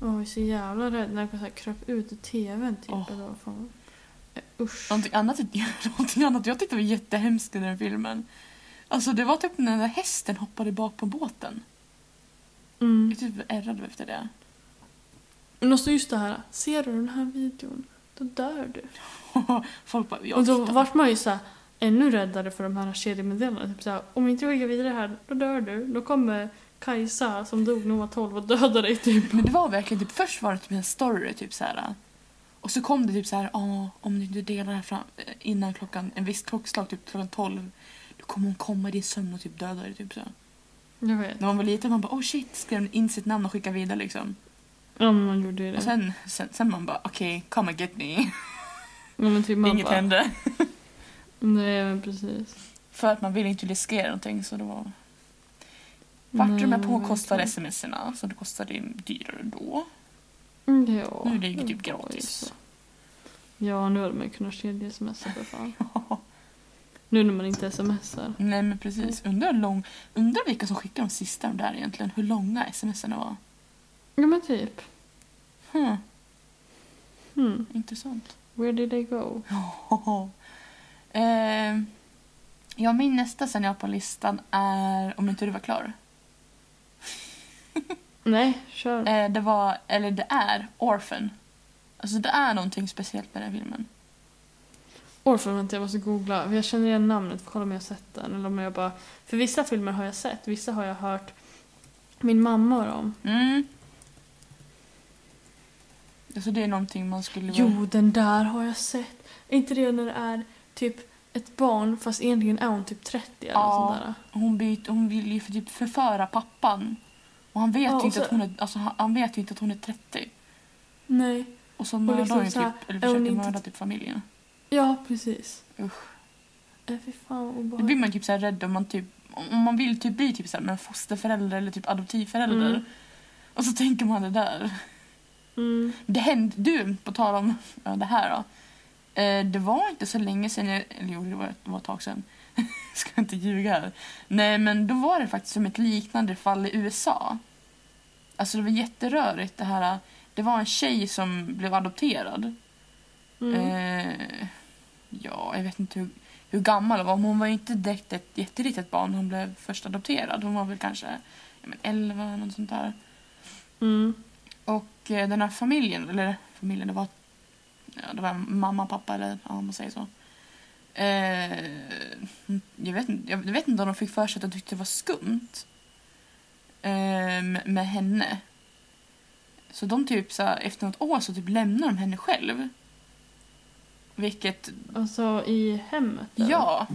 [SPEAKER 2] man var ju så jävla rädd när jag så här kröp ut ur tvn typ.
[SPEAKER 1] Åh.
[SPEAKER 2] Eller vad fan. Eh, Usch.
[SPEAKER 1] Någonting, annat, någonting annat jag tyckte var jättehemskt i den filmen. Alltså det var typ när den där hästen hoppade bak på båten.
[SPEAKER 2] Mm.
[SPEAKER 1] Jag typ ärrade efter det.
[SPEAKER 2] Men också just det här, ser du den här videon, då dör du.
[SPEAKER 1] Folk bara, jag
[SPEAKER 2] och då
[SPEAKER 1] tittar.
[SPEAKER 2] vart man ju så här, ännu räddare för de här kedjemeddelandena. Typ så här, om inte du skickar vidare det här, då dör du. Då kommer Kajsa som dog när hon var 12 och dödar dig typ.
[SPEAKER 1] Men det var verkligen typ först var det typ en story typ så här. Och så kom det typ så här, "Ja, om du inte delar det här fram, innan klockan, en viss klockslag typ klockan 12 då kommer hon komma i din sömn och typ döda dig typ så.
[SPEAKER 2] Jag vet.
[SPEAKER 1] När man var liten man bara oh shit skrev in sitt namn och skickade vidare liksom.
[SPEAKER 2] Ja men man gjorde ju
[SPEAKER 1] Och
[SPEAKER 2] det.
[SPEAKER 1] sen, sen, sen man bara okej come and get me.
[SPEAKER 2] Ja, men typ man
[SPEAKER 1] Inget
[SPEAKER 2] bara,
[SPEAKER 1] hände.
[SPEAKER 2] Nej men precis.
[SPEAKER 1] För att man ville inte riskera någonting så det var... Vart
[SPEAKER 2] Nej,
[SPEAKER 1] de här
[SPEAKER 2] men
[SPEAKER 1] påkostade
[SPEAKER 2] verkligen.
[SPEAKER 1] sms-erna så det kostade ju dyrare då.
[SPEAKER 2] Mm, Ja.
[SPEAKER 1] Nu är det ju typ
[SPEAKER 2] var ju
[SPEAKER 1] gratis.
[SPEAKER 2] så. Ja, nu hade man ju kunnat kedjesmsa för fan. Nu när man inte smsar.
[SPEAKER 1] Nej men precis.
[SPEAKER 2] Mm.
[SPEAKER 1] Undrar, lång... Undrar vilka som skickar de sista de där egentligen. Hur långa smsen var.
[SPEAKER 2] Ja men typ.
[SPEAKER 1] Hmm,
[SPEAKER 2] Hmm.
[SPEAKER 1] intressant.
[SPEAKER 2] Where did they go?
[SPEAKER 1] eh, ja, min nästa sen jag har på listan är Om inte du var klar.
[SPEAKER 2] Nej, kör.
[SPEAKER 1] Eh, det var, eller det är, Orphan. Alltså det är någonting speciellt med den här filmen.
[SPEAKER 2] Orphan, vänta jag måste googla. för Jag känner igen namnet, får kolla om jag har sett den. Eller om jag bara... För vissa filmer har jag sett, vissa har jag hört min mamma och dem.
[SPEAKER 1] Mm. Alltså det är någonting man skulle...
[SPEAKER 2] Jo, den där har jag sett. Är inte det när det är typ ett barn fast egentligen är hon typ 30 eller
[SPEAKER 1] Ja.
[SPEAKER 2] något sånt där?
[SPEAKER 1] Hon, byt, hon vill ju för typ förföra pappan. Och han vet,
[SPEAKER 2] Ja,
[SPEAKER 1] ju
[SPEAKER 2] och
[SPEAKER 1] inte
[SPEAKER 2] så-
[SPEAKER 1] att hon är, alltså, han, han vet ju inte att hon är 30.
[SPEAKER 2] Nej.
[SPEAKER 1] Och så mördar
[SPEAKER 2] liksom
[SPEAKER 1] hon ju
[SPEAKER 2] så här,
[SPEAKER 1] typ, eller
[SPEAKER 2] är hon
[SPEAKER 1] försöker
[SPEAKER 2] inte-
[SPEAKER 1] mörda typ familjen.
[SPEAKER 2] Ja, precis.
[SPEAKER 1] Usch.
[SPEAKER 2] Äh, fy fan vad
[SPEAKER 1] Då blir
[SPEAKER 2] obehagligt.
[SPEAKER 1] man typ så här rädd om man typ om man vill typ bli typ så här med en fosterförälder eller typ adoptivförälder.
[SPEAKER 2] Mm.
[SPEAKER 1] Och så tänker man det där.
[SPEAKER 2] Mm.
[SPEAKER 1] Det hände, du, på tal om ja, det här då. Eh, det var inte så länge sedan, jag, eller jo det var, det var ett tag sedan. Ska inte ljuga här. Nej men då var det faktiskt som ett liknande fall i USA. Alltså det var jätterörigt det här. Det var en tjej som blev adopterad.
[SPEAKER 2] Mm.
[SPEAKER 1] Eh, ja, jag vet inte hur, hur gammal hon var. men Hon var ju inte direkt ett jätteritet barn. när Hon blev först adopterad. Hon var väl kanske ja, men 11 eller något sånt där.
[SPEAKER 2] Mm.
[SPEAKER 1] Och eh, den här familjen, eller familjen, det var, ja, det var mamma, pappa eller ja, om man säger så. Eh, jag, vet, inte- jag vet inte om de fick för sig att de tyckte det var skumt eh, med- med henne. Så de typ så här, efter något år så typ lämnar de henne själv. Vilket
[SPEAKER 2] Alltså i hemmet? eller?
[SPEAKER 1] Ja.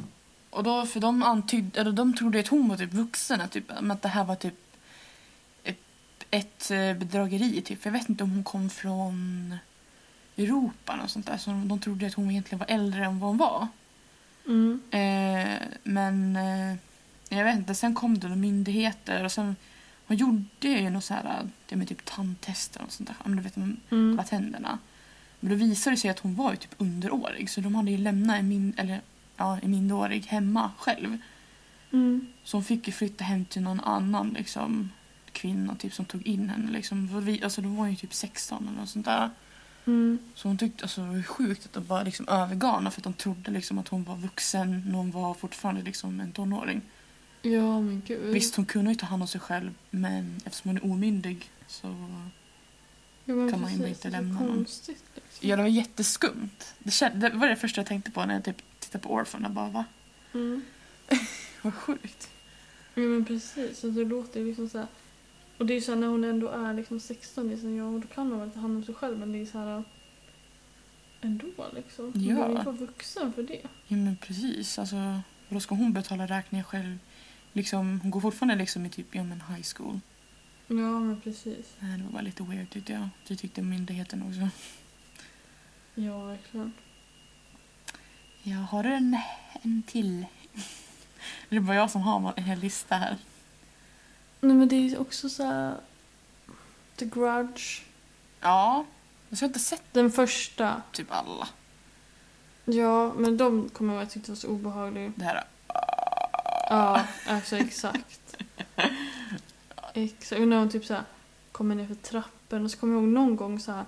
[SPEAKER 1] Och då, för de antydde, eller de trodde att hon var typ vuxen, att typ, men att det här var typ ett, ett eh, bedrägeri typ. För jag vet inte om hon kom från Europa och sånt där. Så de trodde att hon egentligen var äldre än vad hon var.
[SPEAKER 2] Mm.
[SPEAKER 1] Eh, men eh, jag vet inte, sen kom det några myndigheter och sen hon gjorde ju något så här, det med typ tandtester och sånt där. Ja, Men du vet, man
[SPEAKER 2] Mm.
[SPEAKER 1] kolla tänderna. Men då visade det sig att hon var ju typ underårig så de hade ju lämnat en, min, eller, ja, en minderårig hemma själv.
[SPEAKER 2] Mm.
[SPEAKER 1] Så hon fick ju flytta hem till någon annan liksom, kvinna typ, som tog in henne. Liksom. För Vi, alltså, de var ju typ 16 eller något sånt där.
[SPEAKER 2] Mm.
[SPEAKER 1] Så hon tyckte alltså, det var ju sjukt att de bara liksom, övergav henne för att de trodde liksom, att hon var vuxen när hon var fortfarande liksom, en tonåring.
[SPEAKER 2] Ja, men gud.
[SPEAKER 1] Visst, hon kunde ju ta hand om sig själv men eftersom hon är omyndig så
[SPEAKER 2] Ja, men
[SPEAKER 1] kan man ju
[SPEAKER 2] precis,
[SPEAKER 1] inte
[SPEAKER 2] det är så
[SPEAKER 1] lämna någon.
[SPEAKER 2] konstigt, liksom.
[SPEAKER 1] Ja, det var jätteskumt. Det, kän- det var det första jag tänkte på när jag typ tittade på Orphan. Jag bara, va?
[SPEAKER 2] Mm.
[SPEAKER 1] Vad sjukt.
[SPEAKER 2] Ja men precis, så det låter ju liksom så här. Och det är ju såhär när hon ändå är liksom 16 liksom, ja, och då kan hon väl ta hand om sig själv men det är så här äh, ändå liksom. Hon
[SPEAKER 1] Ja.
[SPEAKER 2] behöver ju inte vara vuxen för det.
[SPEAKER 1] Ja, men precis. Alltså, då ska hon betala räkningar själv? Liksom, hon går fortfarande liksom i typ ja, men high school.
[SPEAKER 2] Ja men precis.
[SPEAKER 1] Nej, det var bara lite weird tyckte jag. Det tyckte myndigheten också.
[SPEAKER 2] Ja verkligen.
[SPEAKER 1] Jag har en, en till. Det är bara jag som har en hel lista här.
[SPEAKER 2] Nej men det är ju också så här. The Grudge.
[SPEAKER 1] Ja, jag har inte sett
[SPEAKER 2] Den första.
[SPEAKER 1] typ alla.
[SPEAKER 2] Ja men de kommer jag ihåg att jag tyckte var så obehagliga.
[SPEAKER 1] Det här.
[SPEAKER 2] Ja, alltså exakt. exakt. Och när hon typ så här kommer ner för trappen och så kommer jag ihåg någon gång så här.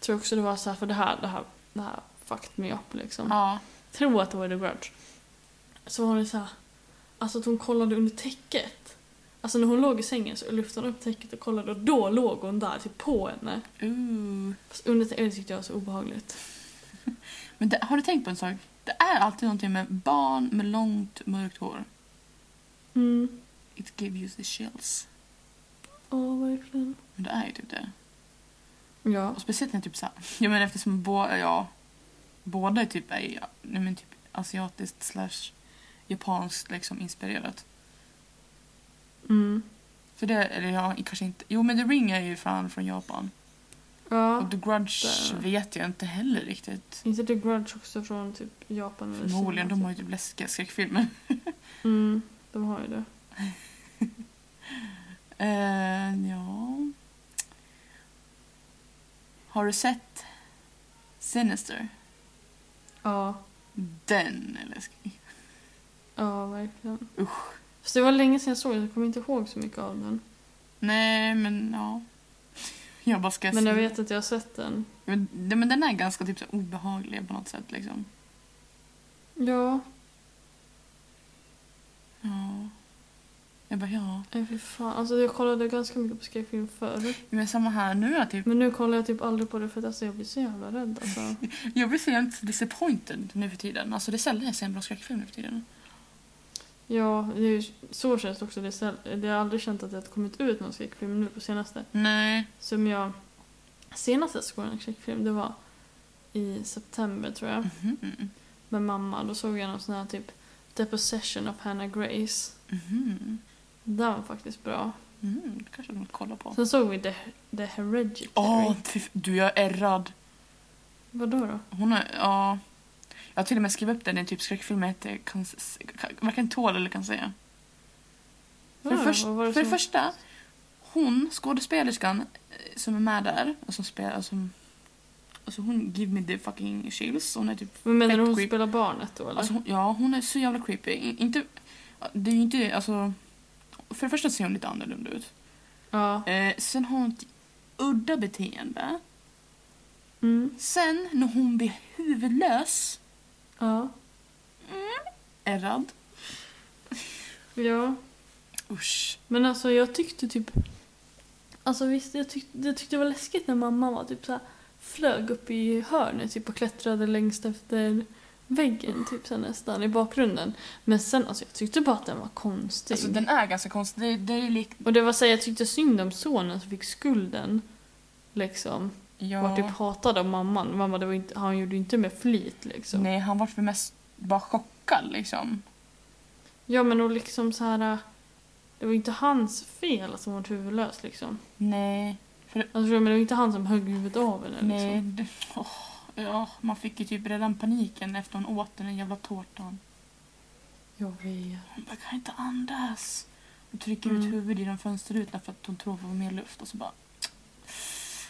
[SPEAKER 2] Tror också det var så här för det här, det här, det här fucked me up liksom.
[SPEAKER 1] Ja.
[SPEAKER 2] Tror att det var The Grudge. Så var det så här. Alltså att hon kollade under täcket. Alltså när hon låg i sängen så lyfte hon upp täcket och kollade och då låg hon där typ på henne.
[SPEAKER 1] Ooh.
[SPEAKER 2] Fast under täcket det tyckte jag var så obehagligt.
[SPEAKER 1] Men det, har du tänkt på en sak? Det är alltid någonting med barn med långt mörkt hår.
[SPEAKER 2] Mm.
[SPEAKER 1] It gave you the chills.
[SPEAKER 2] Ja, verkligen.
[SPEAKER 1] Men det är ju typ det.
[SPEAKER 2] Ja.
[SPEAKER 1] Och speciellt när typ så här, jag menar eftersom båda, ja, båda är typ är ja, nej men typ asiatiskt slash japanskt liksom inspirerat.
[SPEAKER 2] Mm.
[SPEAKER 1] För det, eller ja, kanske inte. Jo men The Ring är ju fan från Japan.
[SPEAKER 2] Ja.
[SPEAKER 1] Och The Grudge
[SPEAKER 2] det-
[SPEAKER 1] vet jag inte heller riktigt.
[SPEAKER 2] Inte The Grudge också från typ Japan eller Kina,
[SPEAKER 1] Förmodligen, de
[SPEAKER 2] typ?
[SPEAKER 1] har ju typ läskiga skräckfilmer.
[SPEAKER 2] Mm, de har ju det.
[SPEAKER 1] Eh, ja. Har du sett Sinister?
[SPEAKER 2] Ja,
[SPEAKER 1] Den är läskig.
[SPEAKER 2] ja verkligen.
[SPEAKER 1] Usch.
[SPEAKER 2] Fast det var länge sedan jag såg den, så jag kommer inte ihåg så mycket av den.
[SPEAKER 1] Nej, men ja. Jag bara ska
[SPEAKER 2] Men jag
[SPEAKER 1] se-
[SPEAKER 2] vet att jag har sett den.
[SPEAKER 1] Men, nej, men den är ganska typ så här obehaglig på något sätt liksom.
[SPEAKER 2] Ja,
[SPEAKER 1] Ja. Jag bara ja.
[SPEAKER 2] nej fy fan. Alltså jag kollade ganska mycket på skräckfilm förr.
[SPEAKER 1] Men samma här nu är typ,
[SPEAKER 2] Men nu kollar jag typ aldrig på det för att alltså, jag blir så jävla rädd alltså.
[SPEAKER 1] jag blir så jämt disappointed nu för tiden. Alltså det är sällan jag ser en bra skräckfilm nu för tiden.
[SPEAKER 2] Ja, det är ju, så känns det också. Det, är säll- det har aldrig känt att det har kommit ut någon skräckfilm nu på senaste.
[SPEAKER 1] Nej.
[SPEAKER 2] Som jag... Senast jag såg en skräckfilm, det var i september tror jag.
[SPEAKER 1] Mhm.
[SPEAKER 2] Med mamma. Då såg jag någon sån här typ The Possession of Hannah Grace.
[SPEAKER 1] Mhm.
[SPEAKER 2] Den var faktiskt bra.
[SPEAKER 1] Mm, det kanske de kollar på.
[SPEAKER 2] Sen såg vi The, The Hereditary.
[SPEAKER 1] Åh, fy f- du jag är ärrad.
[SPEAKER 2] Vadå då?
[SPEAKER 1] Hon är, ja. Jag har till och med skrivit upp den i typ skräckfilmer jag inte kan, s- kan, varken tål eller kan säga. För,
[SPEAKER 2] Vadå
[SPEAKER 1] det
[SPEAKER 2] då?
[SPEAKER 1] först,
[SPEAKER 2] Vad var det
[SPEAKER 1] för Ah, det
[SPEAKER 2] som-
[SPEAKER 1] första, hon skådespelerskan eh, som är med där, och som spelar, som, alltså hon give me the fucking chills. Hon är typ,
[SPEAKER 2] Men menar
[SPEAKER 1] Fett
[SPEAKER 2] du hon
[SPEAKER 1] creep.
[SPEAKER 2] spelar barnet då eller?
[SPEAKER 1] alltså hon, ja hon är så jävla creepy. I- Inte, det är ju inte, alltså. För det första ser hon lite annorlunda ut.
[SPEAKER 2] ja.
[SPEAKER 1] Eh, sen har hon ett udda beteende.
[SPEAKER 2] Mm.
[SPEAKER 1] Sen när hon blir huvudlös,
[SPEAKER 2] Ja.
[SPEAKER 1] ärrad.
[SPEAKER 2] Ja.
[SPEAKER 1] Usch.
[SPEAKER 2] Men alltså jag tyckte typ... Alltså visst, jag tyckte, jag tyckte det var läskigt när mamma var typ så här, flög upp i hörnet typ och klättrade längst efter väggen typ så här, nästan i bakgrunden. Men sen alltså jag tyckte bara att den var konstig.
[SPEAKER 1] Alltså den är ganska konstig. Det, det är lik...
[SPEAKER 2] Och det var så här, jag tyckte synd om sonen som fick skulden. Liksom.
[SPEAKER 1] Ja.
[SPEAKER 2] Var typ hatad av mamman. Mamma, det var inte, han gjorde ju inte med flit liksom.
[SPEAKER 1] Nej, han vart väl mest bara chockad liksom.
[SPEAKER 2] Ja men och liksom så här. äh, Det var ju inte hans fel att hon var huvudlös liksom.
[SPEAKER 1] Nej.
[SPEAKER 2] Alltså, men det var inte han som högg huvudet av henne liksom.
[SPEAKER 1] Nej. det- Åh, ja, man fick ju typ redan paniken efter hon åt den där jävla tårtan.
[SPEAKER 2] Jag vet.
[SPEAKER 1] Hon bara, kan inte andas. Och trycker ut
[SPEAKER 2] Mm.
[SPEAKER 1] huvudet genom fönsterrutan för att hon tror att hon får mer luft och så bara...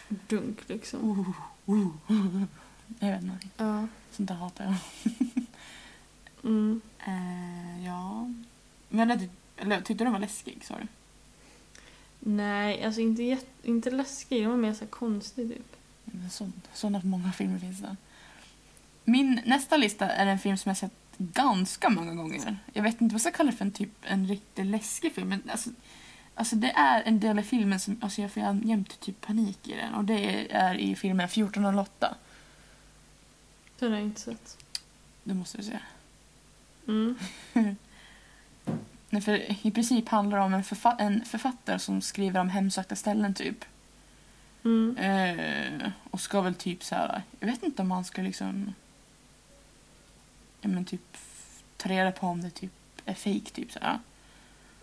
[SPEAKER 2] Dunk liksom.
[SPEAKER 1] Oh, oh. Jag vet inte.
[SPEAKER 2] Ja.
[SPEAKER 1] Sånt där hatar jag.
[SPEAKER 2] Mm.
[SPEAKER 1] Eh, ja. Men jag tyck- eller, tyckte du den var läskig sa du?
[SPEAKER 2] Nej, alltså inte, jätt, inte läskig. Den var mer så här konstig typ.
[SPEAKER 1] Men så- Sådana många filmer finns det. Min nästa lista är en film som jag sett ganska många gånger. Jag vet inte vad jag ska kalla det för en typ en riktigt läskig film. Men alltså, alltså det är en del av filmen som alltså jag får jämt typ panik i den. Och det är i filmen 1408.
[SPEAKER 2] Den har jag inte sett.
[SPEAKER 1] Det måste du se.
[SPEAKER 2] Mm.
[SPEAKER 1] Nej, För I princip handlar det om en, förfa- en författare som skriver om hemsökta ställen typ.
[SPEAKER 2] Mm.
[SPEAKER 1] Eh, och ska väl typ så här. Jag vet inte om han ska liksom... Ja men typ f- ta reda på om det typ är fake typ så här.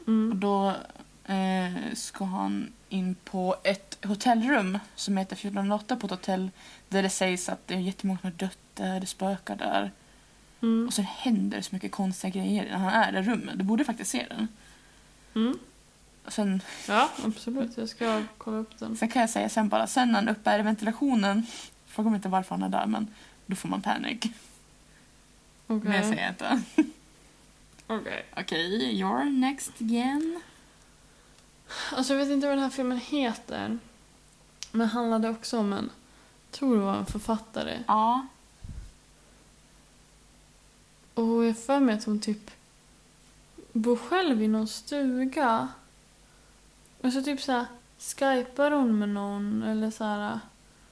[SPEAKER 1] Och
[SPEAKER 2] Mm.
[SPEAKER 1] då eh, ska han in på ett hotellrum som heter 1408 på ett hotell där det sägs att det är jättemånga som har dött där, det spökar där.
[SPEAKER 2] Mm.
[SPEAKER 1] Och sen händer det så mycket konstiga grejer när han är i det rummet. Du borde faktiskt se den.
[SPEAKER 2] Mm.
[SPEAKER 1] Och sen,
[SPEAKER 2] Ja, absolut. Jag ska kolla upp den.
[SPEAKER 1] sen kan jag säga sen bara, sen när han uppe är i ventilationen, fråga mig inte varför han är där men då får man panik. Men jag
[SPEAKER 2] Okej.
[SPEAKER 1] säger inte.
[SPEAKER 2] Okej.
[SPEAKER 1] Okej, you're next again.
[SPEAKER 2] Alltså jag vet inte vad den här filmen heter. Men handlade också om en, tror det var en författare.
[SPEAKER 1] Ja.
[SPEAKER 2] Och jag för mig att hon typ bor själv i någon stuga. Och så typ så här, skypar hon med någon eller så här.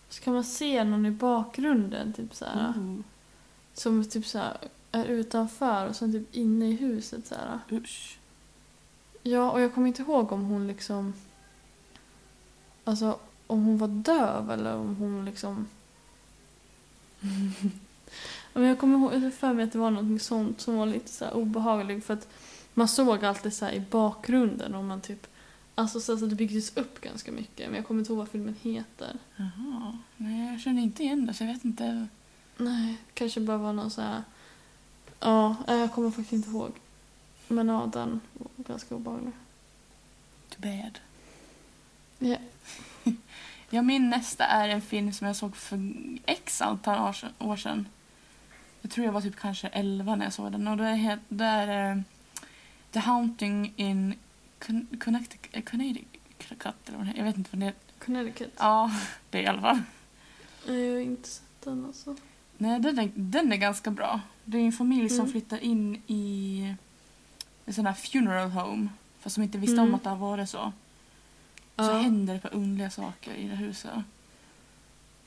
[SPEAKER 2] Så kan man se någon i bakgrunden typ så här.
[SPEAKER 1] Ooh,
[SPEAKER 2] Som typ så här, är utanför och sen typ inne i huset så här.
[SPEAKER 1] usch.
[SPEAKER 2] Ja, och jag kommer inte ihåg om hon liksom... Alltså, om hon var döv eller om hon liksom... Men jag kommer ihåg, jag har för mig att det var något sånt som var lite så här obehagligt för att man såg alltid så här i bakgrunden om man typ... Alltså så att det byggdes upp ganska mycket men jag kommer inte ihåg vad filmen heter.
[SPEAKER 1] Jaha. Nej, jag känner inte igen det så jag vet inte.
[SPEAKER 2] Nej, kanske bara var någon så här... Ja, nej, jag kommer faktiskt inte ihåg. Men ja, den var ganska obehaglig.
[SPEAKER 1] Too bad.
[SPEAKER 2] Ja.
[SPEAKER 1] Ja, min nästa är en film som jag såg för x antal år sedan- år sedan. Jag tror jag var typ kanske 11 när jag såg den och det är, det är eh, The Haunting in Con- Connecticut, eh, Connecticut eller vad det är. Jag vet inte vad det är.
[SPEAKER 2] Connecticut.
[SPEAKER 1] Ja, det är i alla fall.
[SPEAKER 2] Nej, jag har inte sett den alltså.
[SPEAKER 1] Nej, den är, den är ganska bra. Det är en familj som
[SPEAKER 2] Mm.
[SPEAKER 1] flyttar in i en sån här funeral home. Fast som inte visste om
[SPEAKER 2] Mm.
[SPEAKER 1] att det var det så. Och så
[SPEAKER 2] Ja.
[SPEAKER 1] händer det på underliga saker i det huset.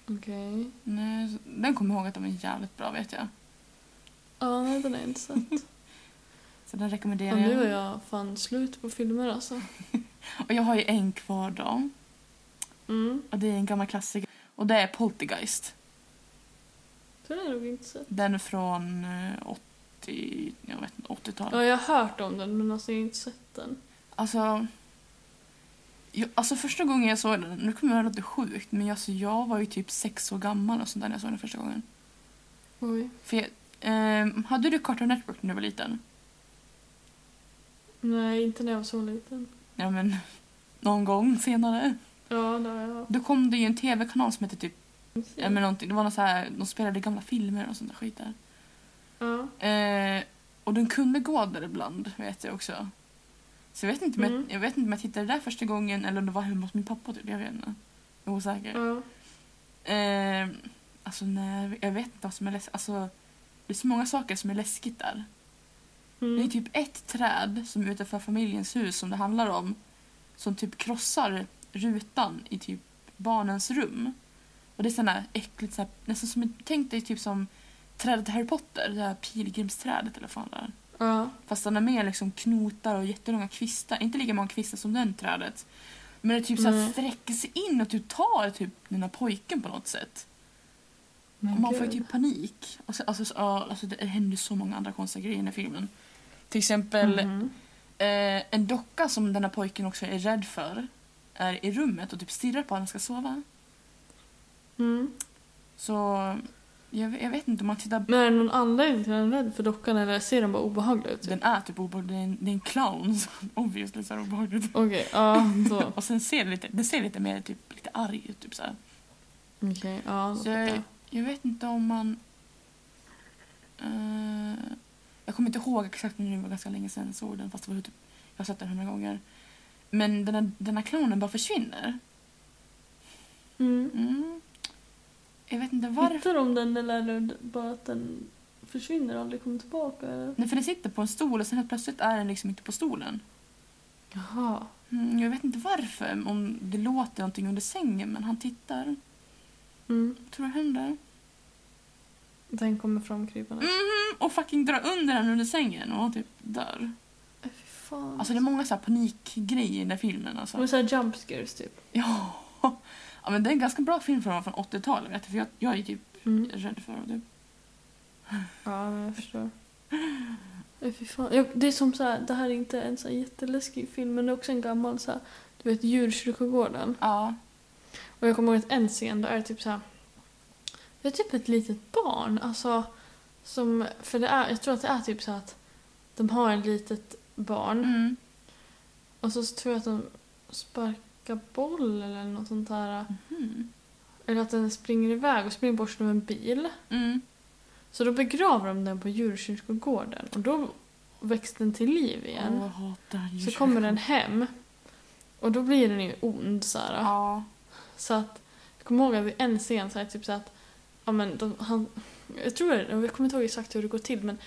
[SPEAKER 2] Okej.
[SPEAKER 1] Nej, så- den kommer jag ihåg att den var jävligt bra vet jag.
[SPEAKER 2] Ja, nej den har jag inte sett.
[SPEAKER 1] Så den rekommenderar
[SPEAKER 2] Och nu
[SPEAKER 1] jag.
[SPEAKER 2] är jag fan slut på filmer alltså.
[SPEAKER 1] Och jag har ju en kvar då.
[SPEAKER 2] Mm.
[SPEAKER 1] Och det är en gammal klassiker. Och det är Poltergeist.
[SPEAKER 2] Den har jag nog inte sett.
[SPEAKER 1] Den från eh, 80, jag vet inte, 80-talet.
[SPEAKER 2] Ja, jag har hört om den men alltså jag har inte sett den.
[SPEAKER 1] Alltså, jag, alltså första gången jag såg den, nu kommer det att låta sjukt men alltså, jag var ju typ sex år gammal och sånt där när jag såg den första gången.
[SPEAKER 2] Oj.
[SPEAKER 1] För jag, ehm, hade du Cartoon Network när du var liten?
[SPEAKER 2] Nej, inte när jag var så liten.
[SPEAKER 1] Ja men, någon gång senare.
[SPEAKER 2] Ja, det har jag haft.
[SPEAKER 1] Då kom det ju en tv-kanal som hette typ Ja, men
[SPEAKER 2] Ja.
[SPEAKER 1] någonting. Det var någon så här, de spelade gamla filmer och sånt där skit där.
[SPEAKER 2] Ja.
[SPEAKER 1] Eh, och den kunde gå där ibland, vet jag också. Så jag vet inte om,
[SPEAKER 2] Mm.
[SPEAKER 1] jag, jag, vet inte om jag tittade där första gången eller om det var hemma hos min pappa typ. Jag vet inte. Jag är osäker.
[SPEAKER 2] ja.
[SPEAKER 1] Eh, alltså nej, jag vet inte vad som är läskigt. Alltså, det är så många saker som är läskigt där. Det
[SPEAKER 2] Mm.
[SPEAKER 1] är typ ett träd som är utanför familjens hus som det handlar om. Som typ krossar rutan i typ barnens rum. Och det är sån här äckligt, så här, nästan som, tänk dig typ som trädet i Harry Potter, det här pilgrimsträdet eller vad fan det är.
[SPEAKER 2] Ja.
[SPEAKER 1] Fast den är med liksom knotar och jättelånga kvistar. Inte lika många kvistar som den trädet. Men det typ så här
[SPEAKER 2] Nej.
[SPEAKER 1] sträcker sig in och typ tar typ den här pojken på något sätt.
[SPEAKER 2] Men
[SPEAKER 1] Och man får ju
[SPEAKER 2] Mm, gud.
[SPEAKER 1] typ panik. Och så, alltså, så, ja, alltså, det händer ju så många andra konstiga grejer i den här filmen. Till exempel
[SPEAKER 2] Mhm.
[SPEAKER 1] Eh, en docka som den här pojken också är rädd för är i rummet och typ stirrar på när han ska sova.
[SPEAKER 2] Mm.
[SPEAKER 1] Så jag, jag vet inte om man tittar...
[SPEAKER 2] Men är det någon anledning till att den är rädd för dockan eller ser den bara obehaglig ut? typ?
[SPEAKER 1] Den är typ obehaglig, det är en, det är en clown som obviously ser obehaglig ut.
[SPEAKER 2] Okej, ja då.
[SPEAKER 1] Och sen ser det lite, det ser lite mer typ, lite arg ut. Typ så här.
[SPEAKER 2] Okej, ja då
[SPEAKER 1] Så
[SPEAKER 2] fattar
[SPEAKER 1] jag,
[SPEAKER 2] jag.
[SPEAKER 1] jag vet inte om man... Eh, jag kommer inte ihåg exakt nu, det var ganska länge sedan jag såg den fast det var typ, jag har sett den hundra gånger. Men den här, den här clownen bara försvinner.
[SPEAKER 2] Mm.
[SPEAKER 1] Mm. Jag vet inte varför.
[SPEAKER 2] Hittar de den eller är det bara att den försvinner och aldrig kommer tillbaka? Eller?
[SPEAKER 1] Nej, för den sitter på en stol och sen helt plötsligt är den liksom inte på stolen.
[SPEAKER 2] Jaha.
[SPEAKER 1] Mm, jag vet inte varför, om det låter någonting under sängen men han tittar.
[SPEAKER 2] Mm.
[SPEAKER 1] Vad tror du händer?
[SPEAKER 2] Den kommer framkrypande.
[SPEAKER 1] Mhm, och fucking drar under den under sängen och han typ dör.
[SPEAKER 2] Äh, fy fan.
[SPEAKER 1] Alltså det är många så här panikgrejer i den där filmen
[SPEAKER 2] De är
[SPEAKER 1] alltså.
[SPEAKER 2] såhär jump scares typ.
[SPEAKER 1] Ja. ja men det är en ganska bra film från, från 80-talet vet du, för jag, jag är typ
[SPEAKER 2] Mm.
[SPEAKER 1] rädd för det. Typ.
[SPEAKER 2] Ja, men jag förstår. Äh, fy fan. Jag, det är som såhär, det här är inte en så här jätteläskig film men det är också en gammal såhär, du vet djurkyrkogården.
[SPEAKER 1] Ja.
[SPEAKER 2] Och jag kommer ihåg att en scen där är typ så här. Det är typ ett litet barn. Alltså, som, för det är, jag tror att det är typ så att de har ett litet barn
[SPEAKER 1] Mm.
[SPEAKER 2] och så tror jag att de sparkar boll eller något sånt där.
[SPEAKER 1] Mhm.
[SPEAKER 2] Eller att den springer iväg och springer bort som en bil.
[SPEAKER 1] Mm.
[SPEAKER 2] Så då begraver de den på djurkyrkogården och då väcks den till liv igen.
[SPEAKER 1] Åh, jag hatar
[SPEAKER 2] så
[SPEAKER 1] djur.
[SPEAKER 2] kommer den hem och då blir den ju ond så här.
[SPEAKER 1] Ja.
[SPEAKER 2] Så att, jag kommer ihåg att vid en scen så är det typ så att, ja men de, han, jag tror det, jag kommer inte ihåg exakt hur det går till men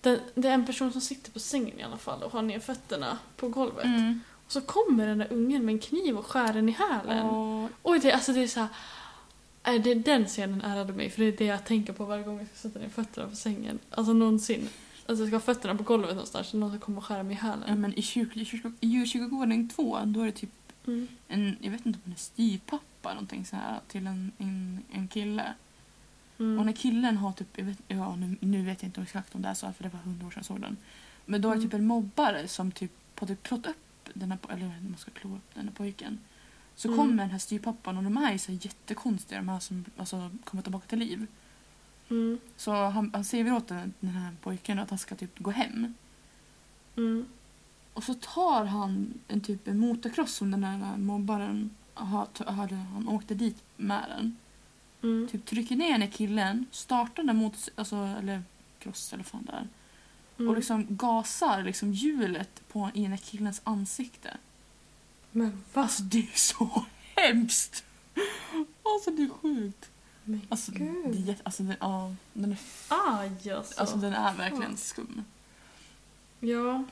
[SPEAKER 2] det, det är en person som sitter på sängen i alla fall och har ner fötterna på golvet.
[SPEAKER 1] Mm.
[SPEAKER 2] Och så kommer den där ungen med en kniv och skär den i hälen.
[SPEAKER 1] Åh,
[SPEAKER 2] Oj, det, alltså det är så här, nej, det, den scenen ärrade mig för det är det jag tänker på varje gång jag ska sätta ner fötterna på sängen. Alltså någonsin. Alltså jag ska ha fötterna på golvet någonstans och någon ska komma och skära mig i
[SPEAKER 1] Ja,
[SPEAKER 2] hälen.
[SPEAKER 1] men i kyrk- i kyrk- i djurkyrkogården 2, då är det typ
[SPEAKER 2] Mm.
[SPEAKER 1] en, jag vet inte om det är styvpappa någonting så här till en, en, en kille. Och när
[SPEAKER 2] Mm.
[SPEAKER 1] killen har typ, jag vet, ja, nu, nu vet jag inte exakt om det är så här, för det var hundra år sedan jag såg den. Men då är det
[SPEAKER 2] Mm.
[SPEAKER 1] typ en mobbare som typ har typ klått upp den här, po- eller jag vet inte om man ska klå upp den här pojken. Så
[SPEAKER 2] Mm.
[SPEAKER 1] kommer den här styvpappan och de här är så här jättekonstiga, de här som alltså, kommer tillbaka till liv.
[SPEAKER 2] Mm.
[SPEAKER 1] Så han, han säger väl åt den, den här pojken att han ska typ gå hem.
[SPEAKER 2] Mm.
[SPEAKER 1] Och så tar han en typ en motocross som den där mobbaren har, hade, han åkte dit med den.
[SPEAKER 2] Mm.
[SPEAKER 1] Typ trycker ner den här killen, startar den mot, alltså, eller cross eller vad fan där.
[SPEAKER 2] Mm.
[SPEAKER 1] Och liksom gasar liksom hjulet på, i den här killens ansikte.
[SPEAKER 2] Men vad?
[SPEAKER 1] Alltså det är så hemskt! Alltså det är sjukt.
[SPEAKER 2] Men
[SPEAKER 1] Alltså, det är,
[SPEAKER 2] gud.
[SPEAKER 1] jätte- alltså, den, ja, den, är,
[SPEAKER 2] Aj alltså.
[SPEAKER 1] alltså den är verkligen skum.
[SPEAKER 2] Ja.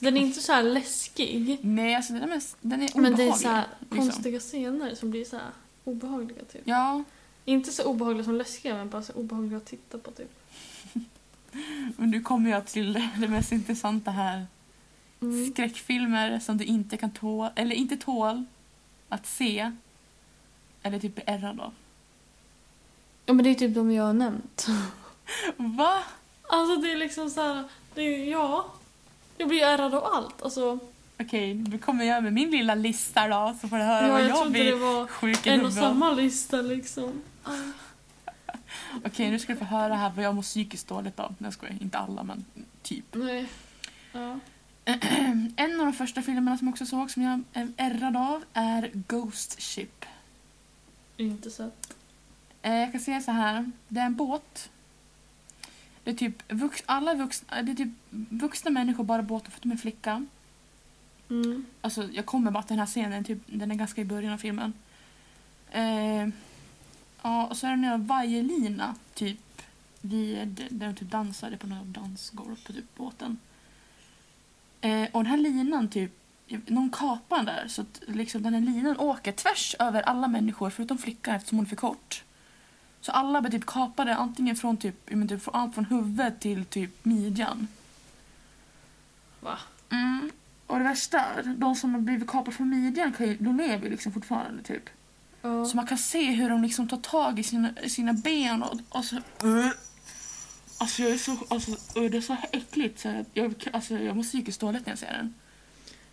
[SPEAKER 2] Den är inte så här läskig.
[SPEAKER 1] Nej, alltså den är, mest, den är
[SPEAKER 2] Men
[SPEAKER 1] obehaglig.
[SPEAKER 2] det är så här
[SPEAKER 1] liksom.
[SPEAKER 2] konstiga scener som blir så här obehagliga typ.
[SPEAKER 1] Ja,
[SPEAKER 2] Inte så obehagliga som läskiga men bara så obehagliga att titta på typ.
[SPEAKER 1] men nu kommer jag till det, det mest intressanta här.
[SPEAKER 2] Mm.
[SPEAKER 1] Skräckfilmer som du inte kan tål, eller inte tål att se. Eller typ bli ärrad av.
[SPEAKER 2] Ja men det är typ de jag har nämnt.
[SPEAKER 1] Va?
[SPEAKER 2] Alltså det är liksom så här, det är ja. Jag blir ärrad av allt. Alltså,
[SPEAKER 1] Okej, nu kommer jag med min lilla lista då så får du höra
[SPEAKER 2] ja,
[SPEAKER 1] vad
[SPEAKER 2] jag
[SPEAKER 1] jag
[SPEAKER 2] trodde det
[SPEAKER 1] blir
[SPEAKER 2] var
[SPEAKER 1] sjuk i
[SPEAKER 2] en och
[SPEAKER 1] huvudet av.
[SPEAKER 2] samma lista liksom. Aj.
[SPEAKER 1] Okej, nu ska du få höra här vad jag mår psykiskt dåligt av. Nej jag skojar, inte alla men typ.
[SPEAKER 2] Nej. Ja.
[SPEAKER 1] En av de första filmerna som jag också såg som jag är ärrad av är Ghost Ship.
[SPEAKER 2] Inte sett.
[SPEAKER 1] Eh, jag kan säga så här. Det är en båt. Det är typ, vux, alla vuxna, det är typ vuxna människor bara i båten förutom en flicka.
[SPEAKER 2] Mm.
[SPEAKER 1] Alltså, jag kommer bara till den här scenen, typ, den är ganska i början av filmen. Eh, ja, och så är det en vajerlina, typ, vid, där de typ dansade på något dansgolv på typ båten. Eh, och den här linan, typ, någon kapar den där så att liksom, den här linan åker tvärs över alla människor förutom flickan eftersom hon är för kort. Så alla blir typ kapade antingen från typ, ja, men typ från- allt från huvudet till typ midjan.
[SPEAKER 2] Va?
[SPEAKER 1] Mm. Och det värsta är, de som har blivit kapade från midjan, kan ju- de lever ju liksom fortfarande typ.
[SPEAKER 2] Ja.
[SPEAKER 1] Så man kan se hur de liksom tar tag i sina, sina ben och, och så... Uh. Alltså jag är så, alltså, uh, det är så äckligt så att jag, alltså, jag mår psykiskt dåligt när jag ser den.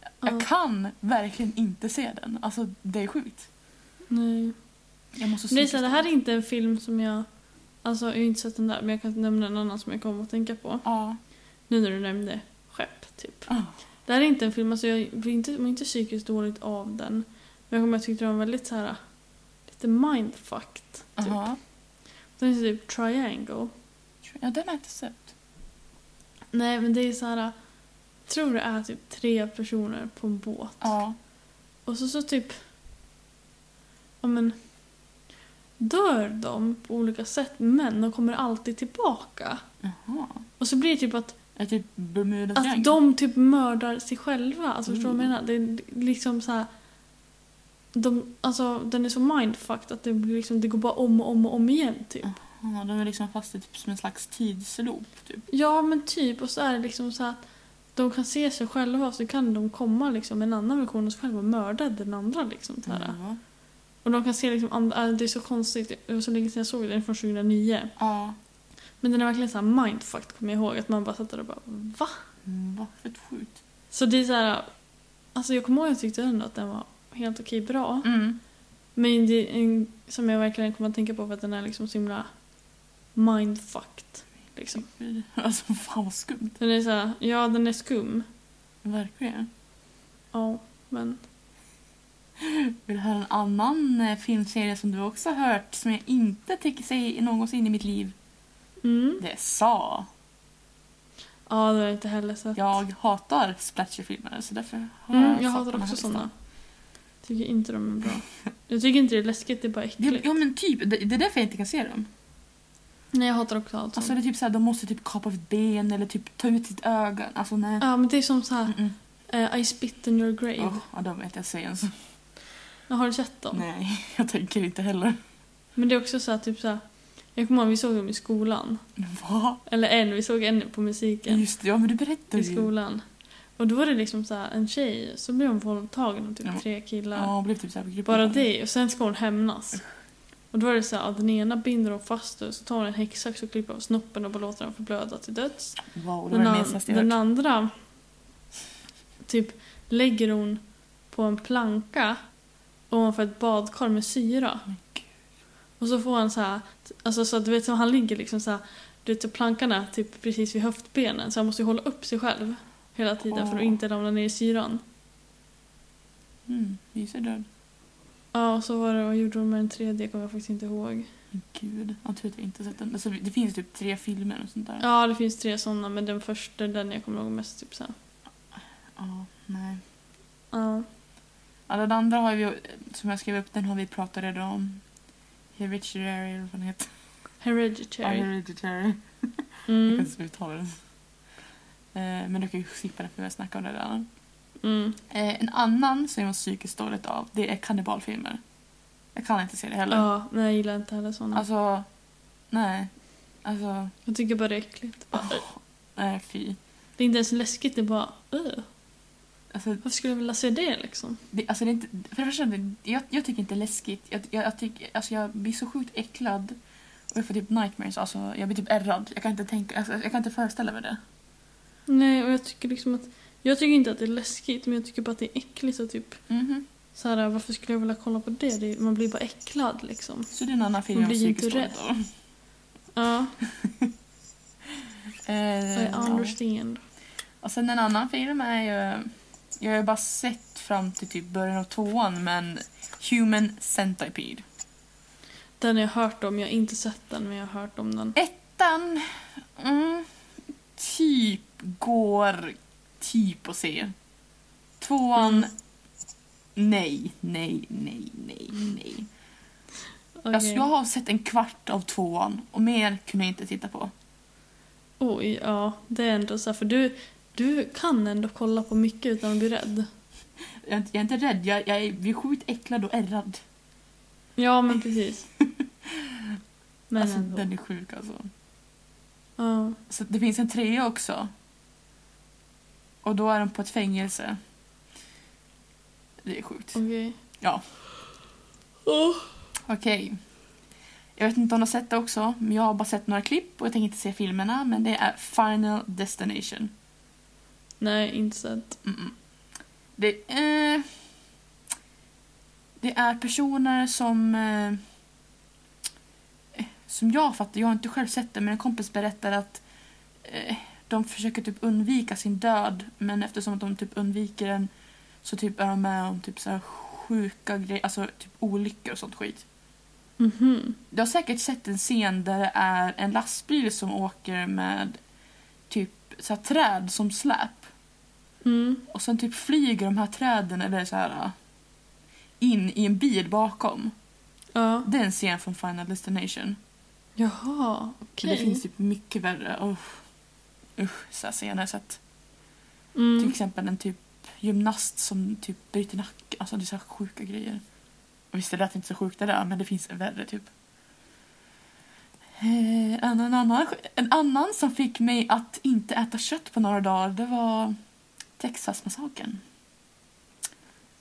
[SPEAKER 2] Ja.
[SPEAKER 1] Jag kan verkligen inte se den. Alltså det är sjukt.
[SPEAKER 2] Nej.
[SPEAKER 1] Alltså, Jag måste
[SPEAKER 2] Men det, är
[SPEAKER 1] psykiskt
[SPEAKER 2] så här, det här är inte en film som jag... Alltså jag har ju inte sett den där men jag kan nämna en annan som jag kom att tänka på.
[SPEAKER 1] Ja.
[SPEAKER 2] Nu när du nämnde skepp typ.
[SPEAKER 1] Ah.
[SPEAKER 2] Det här är inte en film, alltså jag blir inte, mår inte psykiskt dåligt av den. Men jag kommer att tyckte den var väldigt så här lite mindfucked. Typ.
[SPEAKER 1] Aha.
[SPEAKER 2] Den heter typ Triangle.
[SPEAKER 1] Ja, den har jag inte sett.
[SPEAKER 2] Nej men det är så här. Jag tror det är typ tre personer på en båt.
[SPEAKER 1] Ja.
[SPEAKER 2] Och så, så typ... Ja men... Dör de på olika sätt men de kommer alltid tillbaka.
[SPEAKER 1] Jaha.
[SPEAKER 2] Och så blir det typ att,
[SPEAKER 1] Är det typ Bermudas
[SPEAKER 2] att de typ mördar sig själva. Alltså förstår du vad jag menar?
[SPEAKER 1] Mm.
[SPEAKER 2] Det är liksom så här... De, alltså, den är så mindfucked att det, blir liksom, det går bara om och om och om igen typ.
[SPEAKER 1] Ja, de är liksom fast i typ som en slags tidsloop. Typ.
[SPEAKER 2] Ja men typ och så är det liksom så att de kan se sig själva och så kan de komma liksom en annan version av sig själva och mörda den andra liksom. Så här.
[SPEAKER 1] Ja.
[SPEAKER 2] Och de kan se liksom andra, äh, det är så konstigt, det var så länge sedan jag såg den, den är från 2009.
[SPEAKER 1] Ja.
[SPEAKER 2] Men den är verkligen så här mindfucked kommer jag ihåg, att man bara satt där och bara va?
[SPEAKER 1] Mm, Vad fett sjukt.
[SPEAKER 2] Så det är så här, alltså jag kommer ihåg att jag tyckte ändå att den var helt okej bra.
[SPEAKER 1] Mm.
[SPEAKER 2] Men det är en, som jag verkligen kommer att tänka på för att den är liksom så himla mindfucked. Liksom.
[SPEAKER 1] Alltså fan vad skumt.
[SPEAKER 2] Den är så här, ja den är skum,
[SPEAKER 1] Verkligen.
[SPEAKER 2] ja men
[SPEAKER 1] Vill du höra en annan eh, filmserie som du också har hört som jag inte tycker sig någonsin i mitt liv?
[SPEAKER 2] mm.
[SPEAKER 1] Det är Sa.
[SPEAKER 2] Ja, det har jag inte heller sett.
[SPEAKER 1] Jag hatar splatcherfilmer så därför har
[SPEAKER 2] mm,
[SPEAKER 1] satt
[SPEAKER 2] jag hatar
[SPEAKER 1] den här
[SPEAKER 2] också
[SPEAKER 1] listan.
[SPEAKER 2] sådana. Tycker inte de är bra. Jag tycker inte det är läskigt, det är bara
[SPEAKER 1] Det,
[SPEAKER 2] äckligt.
[SPEAKER 1] ja men typ, det, det är därför jag inte kan se dem.
[SPEAKER 2] Nej, jag hatar också allt
[SPEAKER 1] Alltså
[SPEAKER 2] sånt.
[SPEAKER 1] det är typ såhär, de måste typ kapa av ett ben eller typ ta ut sitt öga. Alltså nej.
[SPEAKER 2] Ja, men det är som så här,
[SPEAKER 1] Mm-mm.
[SPEAKER 2] eh, I spit in your grave.
[SPEAKER 1] Åh, ja, de vet jag säger ens.
[SPEAKER 2] Jag har du sett dem?
[SPEAKER 1] Nej, jag tänker inte heller.
[SPEAKER 2] Men det är också så här, typ så här, jag kommer ihåg vi såg dem i skolan.
[SPEAKER 1] Va?
[SPEAKER 2] Eller en, vi såg en på musiken
[SPEAKER 1] Just det, ja men du berättade
[SPEAKER 2] i
[SPEAKER 1] ju.
[SPEAKER 2] skolan. Och då var det liksom så här, en tjej, så blev hon våldtagen av typ
[SPEAKER 1] Ja.
[SPEAKER 2] tre killar.
[SPEAKER 1] Ja, hon blev typ såhär
[SPEAKER 2] Bara det, och sen ska hon hämnas. Och då är det så här, ja, den ena binder hon fast och så tar hon en häcksax och klipper av snoppen och bara låter den förblöda till döds.
[SPEAKER 1] Wow, det var
[SPEAKER 2] Den,
[SPEAKER 1] det
[SPEAKER 2] an-
[SPEAKER 1] mesigaste jag
[SPEAKER 2] den
[SPEAKER 1] hört.
[SPEAKER 2] andra typ lägger hon på en planka ovanför ett badkar med syra.
[SPEAKER 1] Men gud.
[SPEAKER 2] Och så får han så här, alltså så att du vet som han ligger liksom så här, du vet så plankan är typ precis vid höftbenen så han måste ju hålla upp sig själv hela tiden för att
[SPEAKER 1] Åh.
[SPEAKER 2] inte ramla ner i syran.
[SPEAKER 1] Mm, Lisa är död.
[SPEAKER 2] Ja, och så var det, vad gjorde de med den tredje kommer jag faktiskt inte ihåg.
[SPEAKER 1] Men Gud, jag tror att jag inte sett den. Alltså, det finns typ tre filmer och sånt där.
[SPEAKER 2] Ja, det finns tre sådana, men den första är den jag kommer ihåg mest. Typ så här.
[SPEAKER 1] Ja, nej.
[SPEAKER 2] Ja.
[SPEAKER 1] Ja, den andra har vi, som jag skrev upp, den har vi pratat redan om. Hereditary eller vad den heter. Ja,
[SPEAKER 2] Hereditary.
[SPEAKER 1] Hereditary. Jag kan
[SPEAKER 2] Mm.
[SPEAKER 1] inte uttala den. Eh, Men du kan ju slippa det för vi har snackat om det redan.
[SPEAKER 2] Mm.
[SPEAKER 1] Eh, En annan som jag mår psykiskt dåligt av, det är kannibalfilmer. Jag kan inte se det heller.
[SPEAKER 2] Ja, nej jag gillar inte heller sådana.
[SPEAKER 1] Alltså, nej. Alltså,
[SPEAKER 2] jag tycker bara det är äckligt. Bara, "Ugh."
[SPEAKER 1] nej fy.
[SPEAKER 2] Det är inte ens läskigt, det är bara "Ugh."
[SPEAKER 1] Alltså,
[SPEAKER 2] Varför skulle jag vilja se det liksom?
[SPEAKER 1] det, alltså det är inte, för det första, det- jag, jag tycker inte det är läskigt. Jag, jag, jag, tycker, alltså jag blir så sjukt äcklad. Och jag får typ nightmares, alltså jag blir typ ärrad. Jag kan inte, tänka, alltså, jag kan inte föreställa mig det.
[SPEAKER 2] Nej, och jag tycker liksom att... Jag tycker inte att det är läskigt, men jag tycker bara att det är äckligt och typ
[SPEAKER 1] Mhm.
[SPEAKER 2] så här, varför skulle jag vilja kolla på det? det är, man blir bara äcklad liksom.
[SPEAKER 1] Så det är en annan film
[SPEAKER 2] Man
[SPEAKER 1] jag mår
[SPEAKER 2] blir ju inte
[SPEAKER 1] psykiskt dåligt av.
[SPEAKER 2] Ja, I
[SPEAKER 1] Eh, ja.
[SPEAKER 2] understand.
[SPEAKER 1] Och sen en annan film är ju... Jag har ju bara sett fram till typ början av tvåan, men Human Centipede.
[SPEAKER 2] Den har jag hört om, jag har inte sett den men jag har hört om den.
[SPEAKER 1] Ettan... Mm, typ går typ att se. Tvåan...
[SPEAKER 2] Mm.
[SPEAKER 1] Nej, nej, nej, nej, nej.
[SPEAKER 2] Okej.
[SPEAKER 1] Alltså, jag har sett en kvart av tvåan och mer kunde jag inte titta på.
[SPEAKER 2] Oj, ja. Det är ändå så här, för du, du kan ändå kolla på mycket utan att bli rädd.
[SPEAKER 1] Jag är inte, jag är inte rädd, jag, jag är- blir sjukt äcklad och ärrad.
[SPEAKER 2] Ja, men precis. Men
[SPEAKER 1] alltså,
[SPEAKER 2] ändå.
[SPEAKER 1] den är sjuk alltså.
[SPEAKER 2] Ja.
[SPEAKER 1] Så det finns en trea också. Och då är de på ett fängelse. Det är sjukt.
[SPEAKER 2] Okej.
[SPEAKER 1] Ja.
[SPEAKER 2] Åh.
[SPEAKER 1] Okej. Jag vet inte om du har sett det också, men jag har bara sett några klipp och jag tänker inte se filmerna, men det är Final Destination.
[SPEAKER 2] Nej, inte sett.
[SPEAKER 1] Mm-mm. Det, eh, det är personer som... Eh, som jag fattar, jag har inte själv sett det, men en kompis berättar att eh, de försöker typ undvika sin död, men eftersom att de typ undviker den så typ är de med om typ så här sjuka grejer, alltså typ olyckor och sånt skit.
[SPEAKER 2] Mhm.
[SPEAKER 1] Du har säkert sett en scen där det är en lastbil som åker med typ så här träd som släp.
[SPEAKER 2] Mm.
[SPEAKER 1] Och sen typ flyger de här träden eller så här in i en bil bakom.
[SPEAKER 2] Ja.
[SPEAKER 1] Det är en scen från Final Destination.
[SPEAKER 2] Jaha, okej.
[SPEAKER 1] Men Det finns typ mycket värre usch, usch, så här scener. Så att, Till
[SPEAKER 2] mm.
[SPEAKER 1] exempel en typ gymnast som typ bryter nacken. Alltså det är så här sjuka grejer. Och visst det lät inte så sjukt det där men det finns en värre typ. Eh, En, en, annan, en annan som fick mig att inte äta kött på några dagar det var Texasmassakern.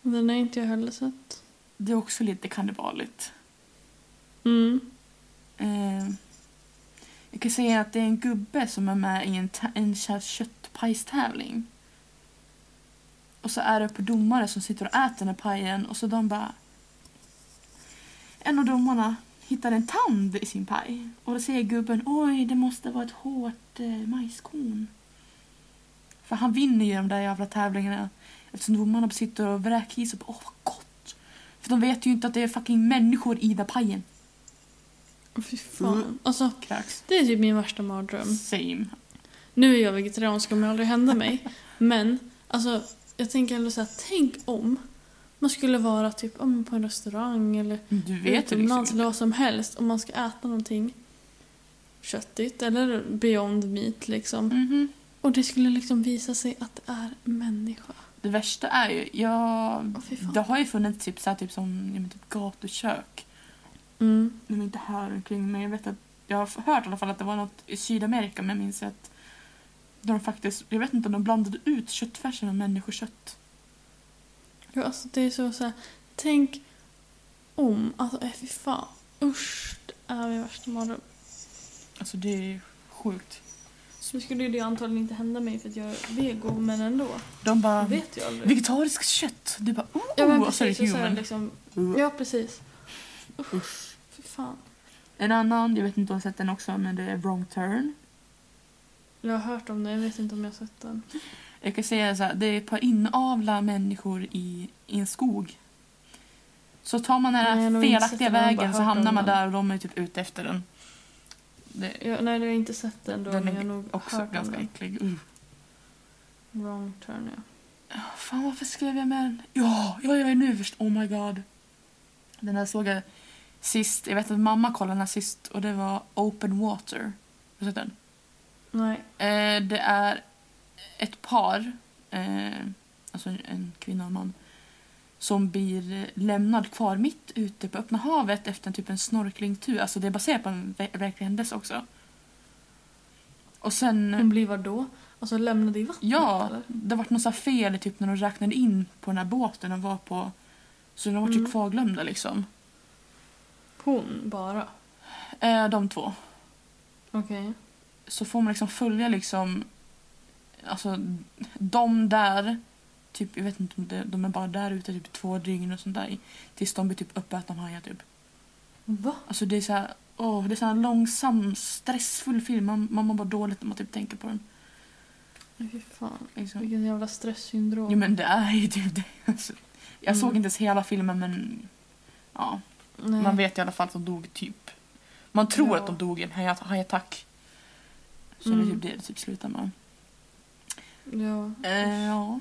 [SPEAKER 2] Den har inte jag heller sett.
[SPEAKER 1] Det är också lite kannibaligt.
[SPEAKER 2] Mm.
[SPEAKER 1] Eh, jag kan säga att det är en gubbe som är med i en, ta- en så här köttpajstävling. Och så är det på domare som sitter och äter den här pajen och så de bara... En av domarna hittar en tand i sin paj och då säger gubben oj det måste vara ett hårt eh, majskorn. För han vinner ju de där jävla tävlingarna eftersom domarna sitter och vräker i sig på åh vad gott. För de vet ju inte att det är fucking människor i den där pajen.
[SPEAKER 2] Åh, Fy fan.
[SPEAKER 1] Mm.
[SPEAKER 2] Alltså,
[SPEAKER 1] Kräks.
[SPEAKER 2] det är typ min värsta mardröm.
[SPEAKER 1] Same.
[SPEAKER 2] Nu är jag vegetarian så det kommer aldrig hända mig. Men alltså, jag tänker ändå såhär, tänk om man skulle vara typ ja, men på en restaurang eller
[SPEAKER 1] Du vet ju liksom
[SPEAKER 2] utomlands
[SPEAKER 1] inte.
[SPEAKER 2] eller vad som helst och man ska äta någonting köttigt eller beyond meat liksom.
[SPEAKER 1] Mhm.
[SPEAKER 2] Och det skulle liksom visa sig att det är en människa.
[SPEAKER 1] Det värsta är ju, jag,
[SPEAKER 2] Åh, fy fan.
[SPEAKER 1] det har ju funnits typ, så här, typ som ja, men typ gatukök.
[SPEAKER 2] Mm.
[SPEAKER 1] Nu är inte här omkring men jag vet att jag har hört i alla fall att det var något i Sydamerika men jag minns att de faktiskt, jag vet inte om de blandade ut köttfärsen med människokött.
[SPEAKER 2] Ja, alltså det är så såhär, tänk om, alltså äh, fy fan. Usch, det är min värsta mardröm.
[SPEAKER 1] Alltså det är sjukt.
[SPEAKER 2] Nu skulle ju det antagligen inte hända mig för att jag är vego, men ändå.
[SPEAKER 1] De bara,
[SPEAKER 2] Det vet jag aldrig.
[SPEAKER 1] vegetariskt kött. Du bara, oh,
[SPEAKER 2] Ja men
[SPEAKER 1] och så är
[SPEAKER 2] precis,
[SPEAKER 1] det
[SPEAKER 2] och så är det
[SPEAKER 1] human.
[SPEAKER 2] liksom,
[SPEAKER 1] Uh.
[SPEAKER 2] ja precis. Usch, fy fan.
[SPEAKER 1] En annan, jag vet inte om jag har sett den också, men det är Wrong Turn.
[SPEAKER 2] Jag har hört om den, jag vet inte om jag har sett den.
[SPEAKER 1] Jag kan säga så här, det är ett par inavla människor i, i en skog. Så tar man den
[SPEAKER 2] Nej,
[SPEAKER 1] här
[SPEAKER 2] jag har nog inte
[SPEAKER 1] felaktiga
[SPEAKER 2] sett den, jag har bara
[SPEAKER 1] vägen så
[SPEAKER 2] hört
[SPEAKER 1] hamnar
[SPEAKER 2] om
[SPEAKER 1] man
[SPEAKER 2] den.
[SPEAKER 1] där och de är typ ute efter den. Det
[SPEAKER 2] Ja, nej, det har jag inte sett den då.
[SPEAKER 1] Den är
[SPEAKER 2] men jag har nog
[SPEAKER 1] också
[SPEAKER 2] hört om
[SPEAKER 1] ganska
[SPEAKER 2] den.
[SPEAKER 1] äcklig. Uh.
[SPEAKER 2] Wrong turn, ja.
[SPEAKER 1] Fan, varför skrev jag med den? Ja, ja, jag är nu först. Oh my god. Den där såg jag sist. Jag vet att mamma kollade den här sist och det var Open Water. Har du sett den?
[SPEAKER 2] Nej.
[SPEAKER 1] Eh, det är ett par, eh, alltså en- en kvinna och en man, som blir lämnad kvar mitt ute på öppna havet efter en typ en snorklingtur. Alltså det är baserat på en ver- verklig händelse också. Och sen...
[SPEAKER 2] Hon blir vad då? Alltså lämnade i vattnet
[SPEAKER 1] Ja,
[SPEAKER 2] eller?
[SPEAKER 1] det var något så här fel typ när de räknade in på den här båten de var på. Så de var typ
[SPEAKER 2] Mm.
[SPEAKER 1] kvarglömda liksom.
[SPEAKER 2] Hon bara.
[SPEAKER 1] Eh, de två.
[SPEAKER 2] Okej.
[SPEAKER 1] Så får man liksom följa liksom, alltså de där, typ jag vet inte om det, de är bara där ute typ två dygn och sånt där. Tills de blir typ uppätna av hajar typ.
[SPEAKER 2] Va?
[SPEAKER 1] Alltså det är så här, åh, det är så här en långsam stressfull film. Man, man mår bara dåligt när man typ tänker på den.
[SPEAKER 2] Nej, Fy fan.
[SPEAKER 1] Liksom.
[SPEAKER 2] Vilken jävla stresssyndrom.
[SPEAKER 1] Jo men det är ju typ det. Alltså, jag
[SPEAKER 2] Mm.
[SPEAKER 1] såg inte ens hela filmen men ja.
[SPEAKER 2] Nej.
[SPEAKER 1] Man vet i alla fall att de dog typ. Man tror
[SPEAKER 2] Ja.
[SPEAKER 1] att de dog i en haj- hajattack. Så det är
[SPEAKER 2] Mm.
[SPEAKER 1] typ det det typ slutar med.
[SPEAKER 2] Ja.
[SPEAKER 1] Eh, ja.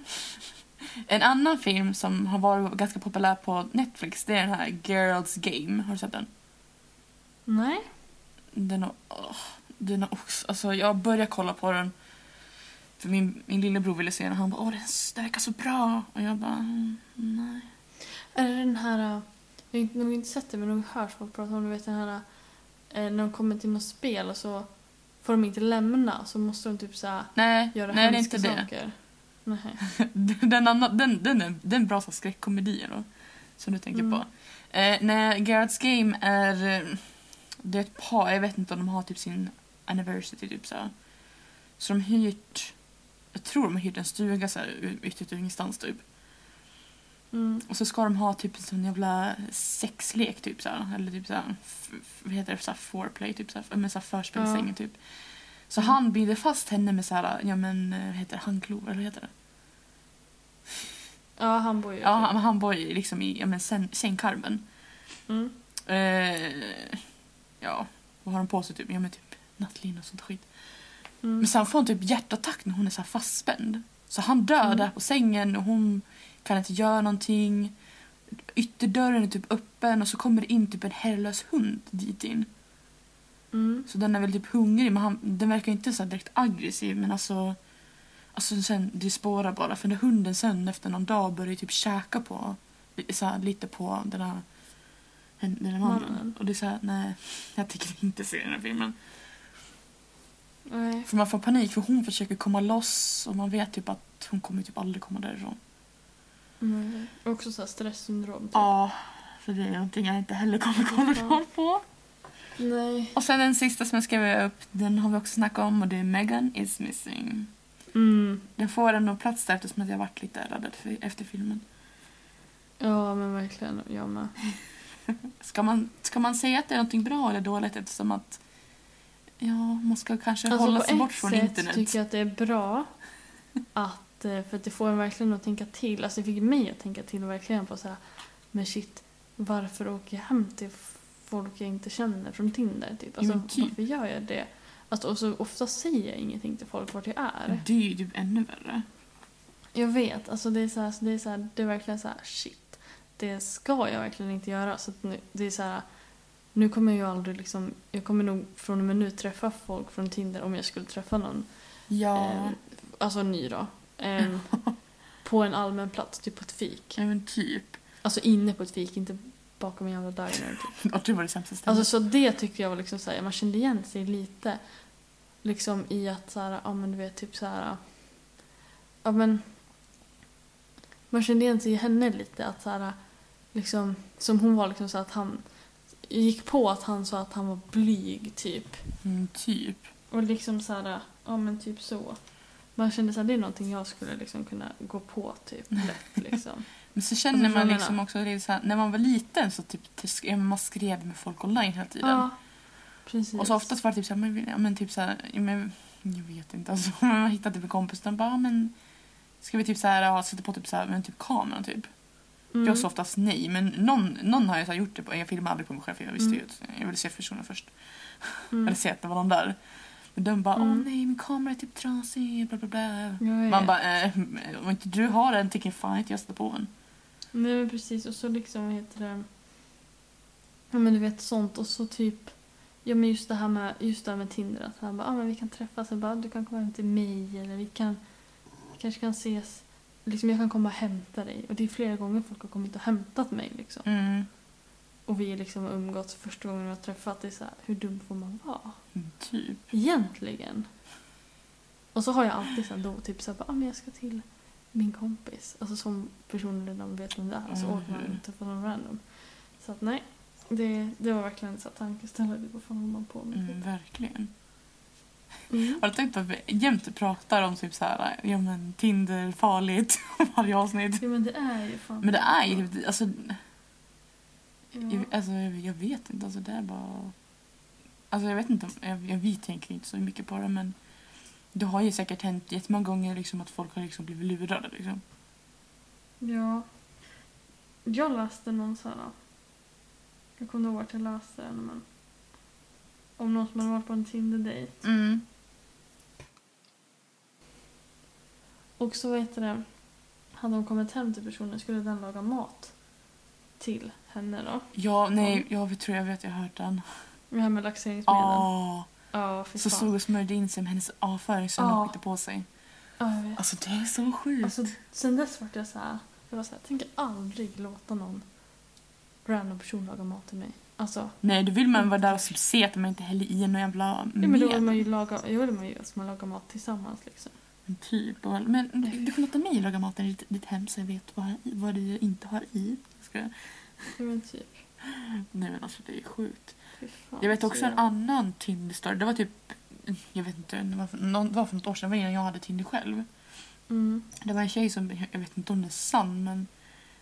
[SPEAKER 1] En annan film som har varit ganska populär på Netflix det är den här Girls Game. Har du sett den?
[SPEAKER 2] Nej.
[SPEAKER 1] Den har, åh, den har också... Alltså jag började kolla på den. För min, min lillebror ville se den och han bara åh den, den verkar så bra. Och jag bara "Mm, nej.
[SPEAKER 2] Är det den här... äh, Jag har inte- nog inte sett det men nog hört folk prata om det. Du vet den här... äh, När de kommer till något spel och så får de inte lämna så måste de typ såhär
[SPEAKER 1] Nej,
[SPEAKER 2] göra
[SPEAKER 1] nej det är
[SPEAKER 2] hemska
[SPEAKER 1] inte det.
[SPEAKER 2] saker. Nej.
[SPEAKER 1] Den, annan, den, den, är, den är bra som skräckkomedier då. Som du tänker
[SPEAKER 2] Mm.
[SPEAKER 1] på. Eh, nej, Garrett's Game är... eh, Det är ett par, jag vet inte om de har typ sin anniversary typ så. här. Så de hyrt... Jag tror de har hyrt en stuga så här, u- ute i ingenstans typ.
[SPEAKER 2] Mm.
[SPEAKER 1] Och så ska de ha typ en sån jävla sexlek typ så här, eller typ så här, f- f- vad heter det, så här foreplay typ så här, men så här förspel i
[SPEAKER 2] Ja.
[SPEAKER 1] sängen typ. Så han binder fast henne med så här, ja men eh, vad heter det, handklovar, eller vad heter det?
[SPEAKER 2] Ja, han bor ju...
[SPEAKER 1] Ja, han, han var ju liksom i ja, men sen, sängkarmen.
[SPEAKER 2] Mm.
[SPEAKER 1] Eh, ja, vad har de på sig typ? Ja men typ nattlinne och sånt skit.
[SPEAKER 2] Mm.
[SPEAKER 1] Men sen får hon typ hjärtattack när hon är så här fastspänd. Så han dör
[SPEAKER 2] Mm.
[SPEAKER 1] där på sängen och hon kan inte göra någonting. Ytterdörren är typ öppen och så kommer det in typ en herrelös hund dit in.
[SPEAKER 2] Mm.
[SPEAKER 1] Så den är väl typ hungrig men han, den verkar inte så här direkt aggressiv men alltså... Alltså sen, det spårar bara för när hunden sen efter någon dag börjar ju typ käka på så här, lite på den här, den den här mannen.
[SPEAKER 2] Mannen.
[SPEAKER 1] Och det är såhär, nej jag tänker inte se den här filmen.
[SPEAKER 2] Nej.
[SPEAKER 1] För man får panik för hon försöker komma loss och man vet typ att hon kommer typ aldrig komma därifrån.
[SPEAKER 2] Mm. Också såhär stresssyndrom. Typ.
[SPEAKER 1] Ja, så det är någonting jag inte heller kommer kolla
[SPEAKER 2] Ja.
[SPEAKER 1] på.
[SPEAKER 2] Nej.
[SPEAKER 1] Och sen den sista som jag skrev upp, den har vi också snackat om och det är Megan is missing.
[SPEAKER 2] Mm.
[SPEAKER 1] Den får ändå plats där eftersom att jag varit lite rädd för- efter filmen.
[SPEAKER 2] Ja, men verkligen. Jag med.
[SPEAKER 1] Ska man, ska man säga att det är någonting bra eller dåligt eftersom att ja, man ska kanske
[SPEAKER 2] Alltså,
[SPEAKER 1] hålla sig bort från internet?
[SPEAKER 2] tycker jag att det är bra att, eh, för att det får en verkligen att tänka till. Alltså det fick mig att tänka till verkligen på så här, men shit, varför åker jag hem till f- folk jag inte känner från Tinder? Typ? Alltså,
[SPEAKER 1] men typ.
[SPEAKER 2] Varför gör jag det? Alltså, och så ofta säger jag ingenting till folk vart jag är.
[SPEAKER 1] Det är ju typ ännu värre.
[SPEAKER 2] Jag vet, alltså det är, så här, det, är så här, det är verkligen så här, shit, det ska jag verkligen inte göra. Så att nu, det är så här, nu kommer jag ju aldrig liksom, jag kommer nog från och med nu träffa folk från Tinder om jag skulle träffa någon
[SPEAKER 1] Ja,
[SPEAKER 2] Eh, alltså en ny då. Eh, på en allmän plats, typ på ett fik.
[SPEAKER 1] ja men typ.
[SPEAKER 2] Alltså inne på ett fik, inte bakom en jävla diner. Typ.
[SPEAKER 1] Och det var det sämsta stället.
[SPEAKER 2] Alltså så det tyckte jag var liksom såhär, man kände igen sig lite. Liksom i att såhär, ja men du vet typ såhär, ja men. Man kände igen sig i henne lite att såhär, liksom, som hon var liksom så att han gick på att han sa att han var blyg typ.
[SPEAKER 1] mm, typ.
[SPEAKER 2] Och liksom så här, ja men typ så. Man kände såhär, det är någonting jag skulle liksom kunna gå på typ lätt liksom.
[SPEAKER 1] Men så
[SPEAKER 2] Alltså,
[SPEAKER 1] känner
[SPEAKER 2] jag
[SPEAKER 1] man
[SPEAKER 2] menar-
[SPEAKER 1] liksom också, det är så här, när man var liten så typ, sk- ja, men man skrev med folk online hela tiden.
[SPEAKER 2] ja, precis.
[SPEAKER 1] Och så oftast var det typ såhär, men, ja, men typ såhär, ja, men, jag vet inte alltså. Men man hittade typ en kompis och de bara, ja, men ska vi typ såhär, ja, sätta på typ såhär, men typ kameran typ.
[SPEAKER 2] Mm,
[SPEAKER 1] Jag sa oftast nej, men någon, någon har jag så här gjort det på. Jag filmade aldrig på mig själv för jag visste ju att jag ville se personen först.
[SPEAKER 2] Mm.
[SPEAKER 1] Eller se att det var någon där. Men den bara
[SPEAKER 2] Mm.
[SPEAKER 1] åh nej min kamera är typ trasig, bla bla bla.
[SPEAKER 2] Jag vet.
[SPEAKER 1] Man bara eh, om inte du har den tycker jag fan inte jag sätter på den.
[SPEAKER 2] Nej men precis och så liksom vad heter det Ja men du vet sånt och så typ Ja men just det här med, just det här med Tinder att han bara ah, men vi kan träffas jag bara du kan komma hem till mig eller vi kan vi kanske kan ses Liksom jag kan komma och hämta dig och det är flera gånger folk har kommit och hämtat mig liksom
[SPEAKER 1] Mm.
[SPEAKER 2] Och vi liksom har umgåtts första gången vi har träffat det är så här, hur dum får man vara?
[SPEAKER 1] Typ.
[SPEAKER 2] Egentligen. Och så har jag alltid sen då typ såhär, ah, men jag ska till min kompis. Alltså som personen redan vet vem det är. Så
[SPEAKER 1] Mm.
[SPEAKER 2] åker man inte på någon random. Så att nej, det, det var verkligen så här tankeställare. Vad fan håller man på med?
[SPEAKER 1] Mm, verkligen.
[SPEAKER 2] Mm.
[SPEAKER 1] Har du tänkt på att vi jämt pratar om typ så här, ja men Tinder farligt varje avsnitt.
[SPEAKER 2] Ja men det är ju fan...
[SPEAKER 1] Men det är ju typ, alltså,
[SPEAKER 2] Ja.
[SPEAKER 1] jag, alltså jag, jag vet inte, alltså det är bara... Alltså jag vet inte, om- jag, jag, vi tänker inte så mycket på det men det har ju säkert hänt jättemånga gånger liksom att folk har liksom blivit lurade liksom.
[SPEAKER 2] ja. Jag läste någon sån här... Jag kommer inte ihåg vart jag läste den men... Om någon som hade varit på en Tinder-dejt.
[SPEAKER 1] Mm.
[SPEAKER 2] Och så vet du det, hade hon kommit hem till personen skulle den laga mat till henne då.
[SPEAKER 1] Ja, nej, ja, vi tror jag vet, jag har hört den.
[SPEAKER 2] Med det här med laxeringsmedel. Ja,
[SPEAKER 1] Ah,
[SPEAKER 2] fy
[SPEAKER 1] så
[SPEAKER 2] fan.
[SPEAKER 1] stod och smörjde in sig med hennes avföring som
[SPEAKER 2] Ja.
[SPEAKER 1] hon skickade på sig.
[SPEAKER 2] Ja, jag vet.
[SPEAKER 1] Alltså det är så sjukt.
[SPEAKER 2] Alltså, sen dess vart jag så här, jag var så här, jag tänker aldrig låta någon random person laga mat till mig. Alltså,
[SPEAKER 1] nej, då vill man vara där och se att man inte häller i någon jävla
[SPEAKER 2] ja, men då vill
[SPEAKER 1] medel.
[SPEAKER 2] man ju laga, jag vill man ju att man lagar mat tillsammans liksom.
[SPEAKER 1] Men Typ. och- Men du- du får låta mig laga maten i ditt, ditt hem så jag vet vad, vad du inte har i. Ska jag?
[SPEAKER 2] Ja, men typ.
[SPEAKER 1] Nej men alltså det är sjukt.
[SPEAKER 2] Fy fan,
[SPEAKER 1] Jag vet också
[SPEAKER 2] så
[SPEAKER 1] en
[SPEAKER 2] jag-
[SPEAKER 1] annan Tinder-story. Det var typ, jag vet inte, det var för, någon, det var för något år sedan, det var innan jag hade Tinder själv.
[SPEAKER 2] Mm.
[SPEAKER 1] Det var en tjej som, jag vet inte om det är sann men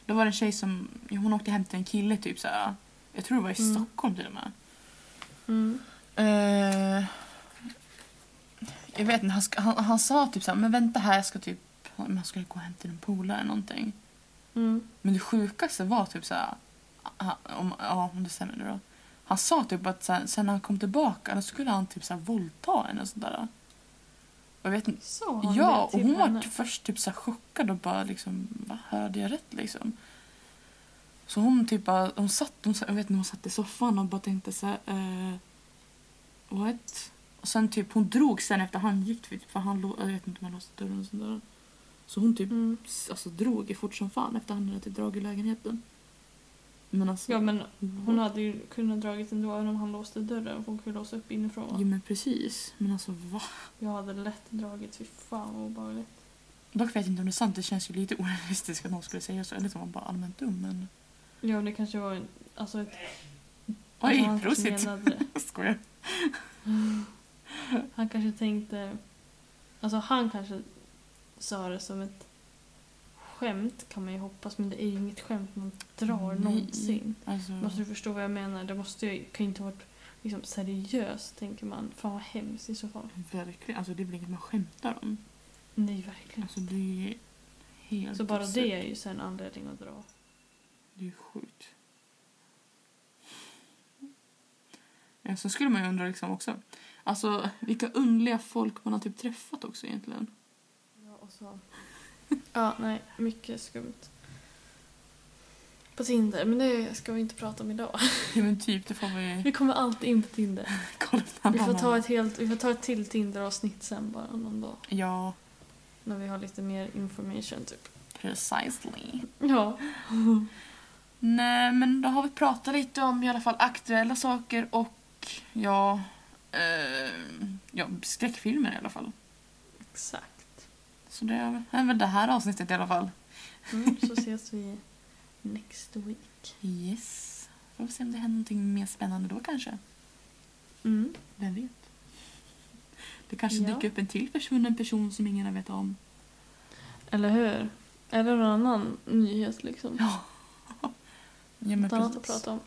[SPEAKER 1] då var det en tjej som, ja, hon åkte hem till en kille typ såhär, jag tror det var i
[SPEAKER 2] Mm.
[SPEAKER 1] Stockholm till och med.
[SPEAKER 2] Mm.
[SPEAKER 1] Eh, jag vet inte, han, sk- han, han sa typ såhär, men vänta här jag ska typ, han han skulle gå hem till en polare eller någonting.
[SPEAKER 2] Mm.
[SPEAKER 1] Men det sjukaste var typ såhär, han- om, ja om det stämmer nu då. Han sa typ att sen, sen när han kom tillbaka då skulle han typ såhär våldta henne och sådär. Och jag vet inte,
[SPEAKER 2] Så har
[SPEAKER 1] ja
[SPEAKER 2] det
[SPEAKER 1] och
[SPEAKER 2] till
[SPEAKER 1] hon var
[SPEAKER 2] henne.
[SPEAKER 1] först typ såhär chockad och bara liksom, va hörde jag rätt liksom? Så hon typ bara, hon satt, hon, sa- jag vet inte, hon satt i soffan och bara tänkte såhär, eh, what? Och sen typ hon drog sen efter han gick, för han, lå- jag vet inte om han låste dörren och sådär. Så hon typ
[SPEAKER 2] Mm.
[SPEAKER 1] alltså, drog fort som fan efter han hade typ dragit lägenheten. Men alltså...
[SPEAKER 2] Ja, men Hon
[SPEAKER 1] vad-
[SPEAKER 2] hade ju kunnat dragit ändå även om han låste dörren för hon kunde låsa upp inifrån.
[SPEAKER 1] Jo men precis. Men alltså va?
[SPEAKER 2] Jag hade lätt dragit, fy fan vad obehagligt.
[SPEAKER 1] Dock vet jag inte om det är sant, det känns ju lite orealistiskt att någon skulle säga så. Eller så var man bara allmänt dum men...
[SPEAKER 2] Ja men det kanske var en, alltså ett... alltså,
[SPEAKER 1] Oj,
[SPEAKER 2] han kanske
[SPEAKER 1] prosit!
[SPEAKER 2] menade det.
[SPEAKER 1] Skojar.
[SPEAKER 2] Han kanske tänkte, alltså han kanske sa det som ett skämt kan man ju hoppas men det är ju inget skämt man drar
[SPEAKER 1] Nej.
[SPEAKER 2] någonsin.
[SPEAKER 1] Alltså...
[SPEAKER 2] Måste du förstå vad jag menar? Det måste ju, kan ju inte ha varit liksom, seriöst tänker man. Fan vad hemskt i så fall.
[SPEAKER 1] Verkligen, alltså det är väl inget man skämtar om.
[SPEAKER 2] Nej verkligen.
[SPEAKER 1] Alltså det är helt
[SPEAKER 2] Så bara
[SPEAKER 1] absurt.
[SPEAKER 2] det är ju sen anledning att dra.
[SPEAKER 1] Det är sjukt. Ja, sen skulle man ju undra liksom också. Alltså vilka underliga folk man har typ träffat också egentligen.
[SPEAKER 2] Ja, och så. ja, nej, mycket skumt. På Tinder, men det ska vi inte prata om idag.
[SPEAKER 1] Ja men typ, det får vi
[SPEAKER 2] Vi kommer alltid in på Tinder.
[SPEAKER 1] kolla på.
[SPEAKER 2] Vi får
[SPEAKER 1] någon
[SPEAKER 2] ta
[SPEAKER 1] annan.
[SPEAKER 2] ett, helt, vi får ta ett till Tinder-avsnitt sen bara någon dag.
[SPEAKER 1] Ja,
[SPEAKER 2] När vi har lite mer information typ.
[SPEAKER 1] precisely.
[SPEAKER 2] Ja.
[SPEAKER 1] Nej men då har vi pratat lite om i alla fall aktuella saker och ja, eh, ja skräckfilmer i alla fall.
[SPEAKER 2] Exakt.
[SPEAKER 1] Så det är är väl det här avsnittet i alla fall.
[SPEAKER 2] Mm, så ses vi next week.
[SPEAKER 1] Yes. Får vi se om det händer någonting mer spännande då kanske.
[SPEAKER 2] Mm.
[SPEAKER 1] Vem vet? Det kanske
[SPEAKER 2] Ja.
[SPEAKER 1] dyker upp en till person, en person som ingen har vetat om.
[SPEAKER 2] Eller hur? Eller någon annan nyhet liksom.
[SPEAKER 1] Ja. ja men
[SPEAKER 2] Något annat att
[SPEAKER 1] precis.
[SPEAKER 2] prata om.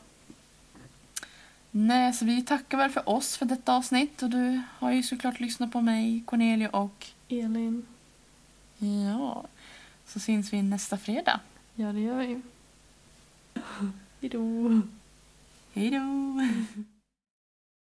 [SPEAKER 1] Nej, så vi tackar väl för oss för detta avsnitt och du har ju såklart lyssnat på mig, Cornelia och
[SPEAKER 2] Elin.
[SPEAKER 1] ja, så syns vi nästa fredag.
[SPEAKER 2] Ja, det gör vi. Hejdå.
[SPEAKER 1] Hej då!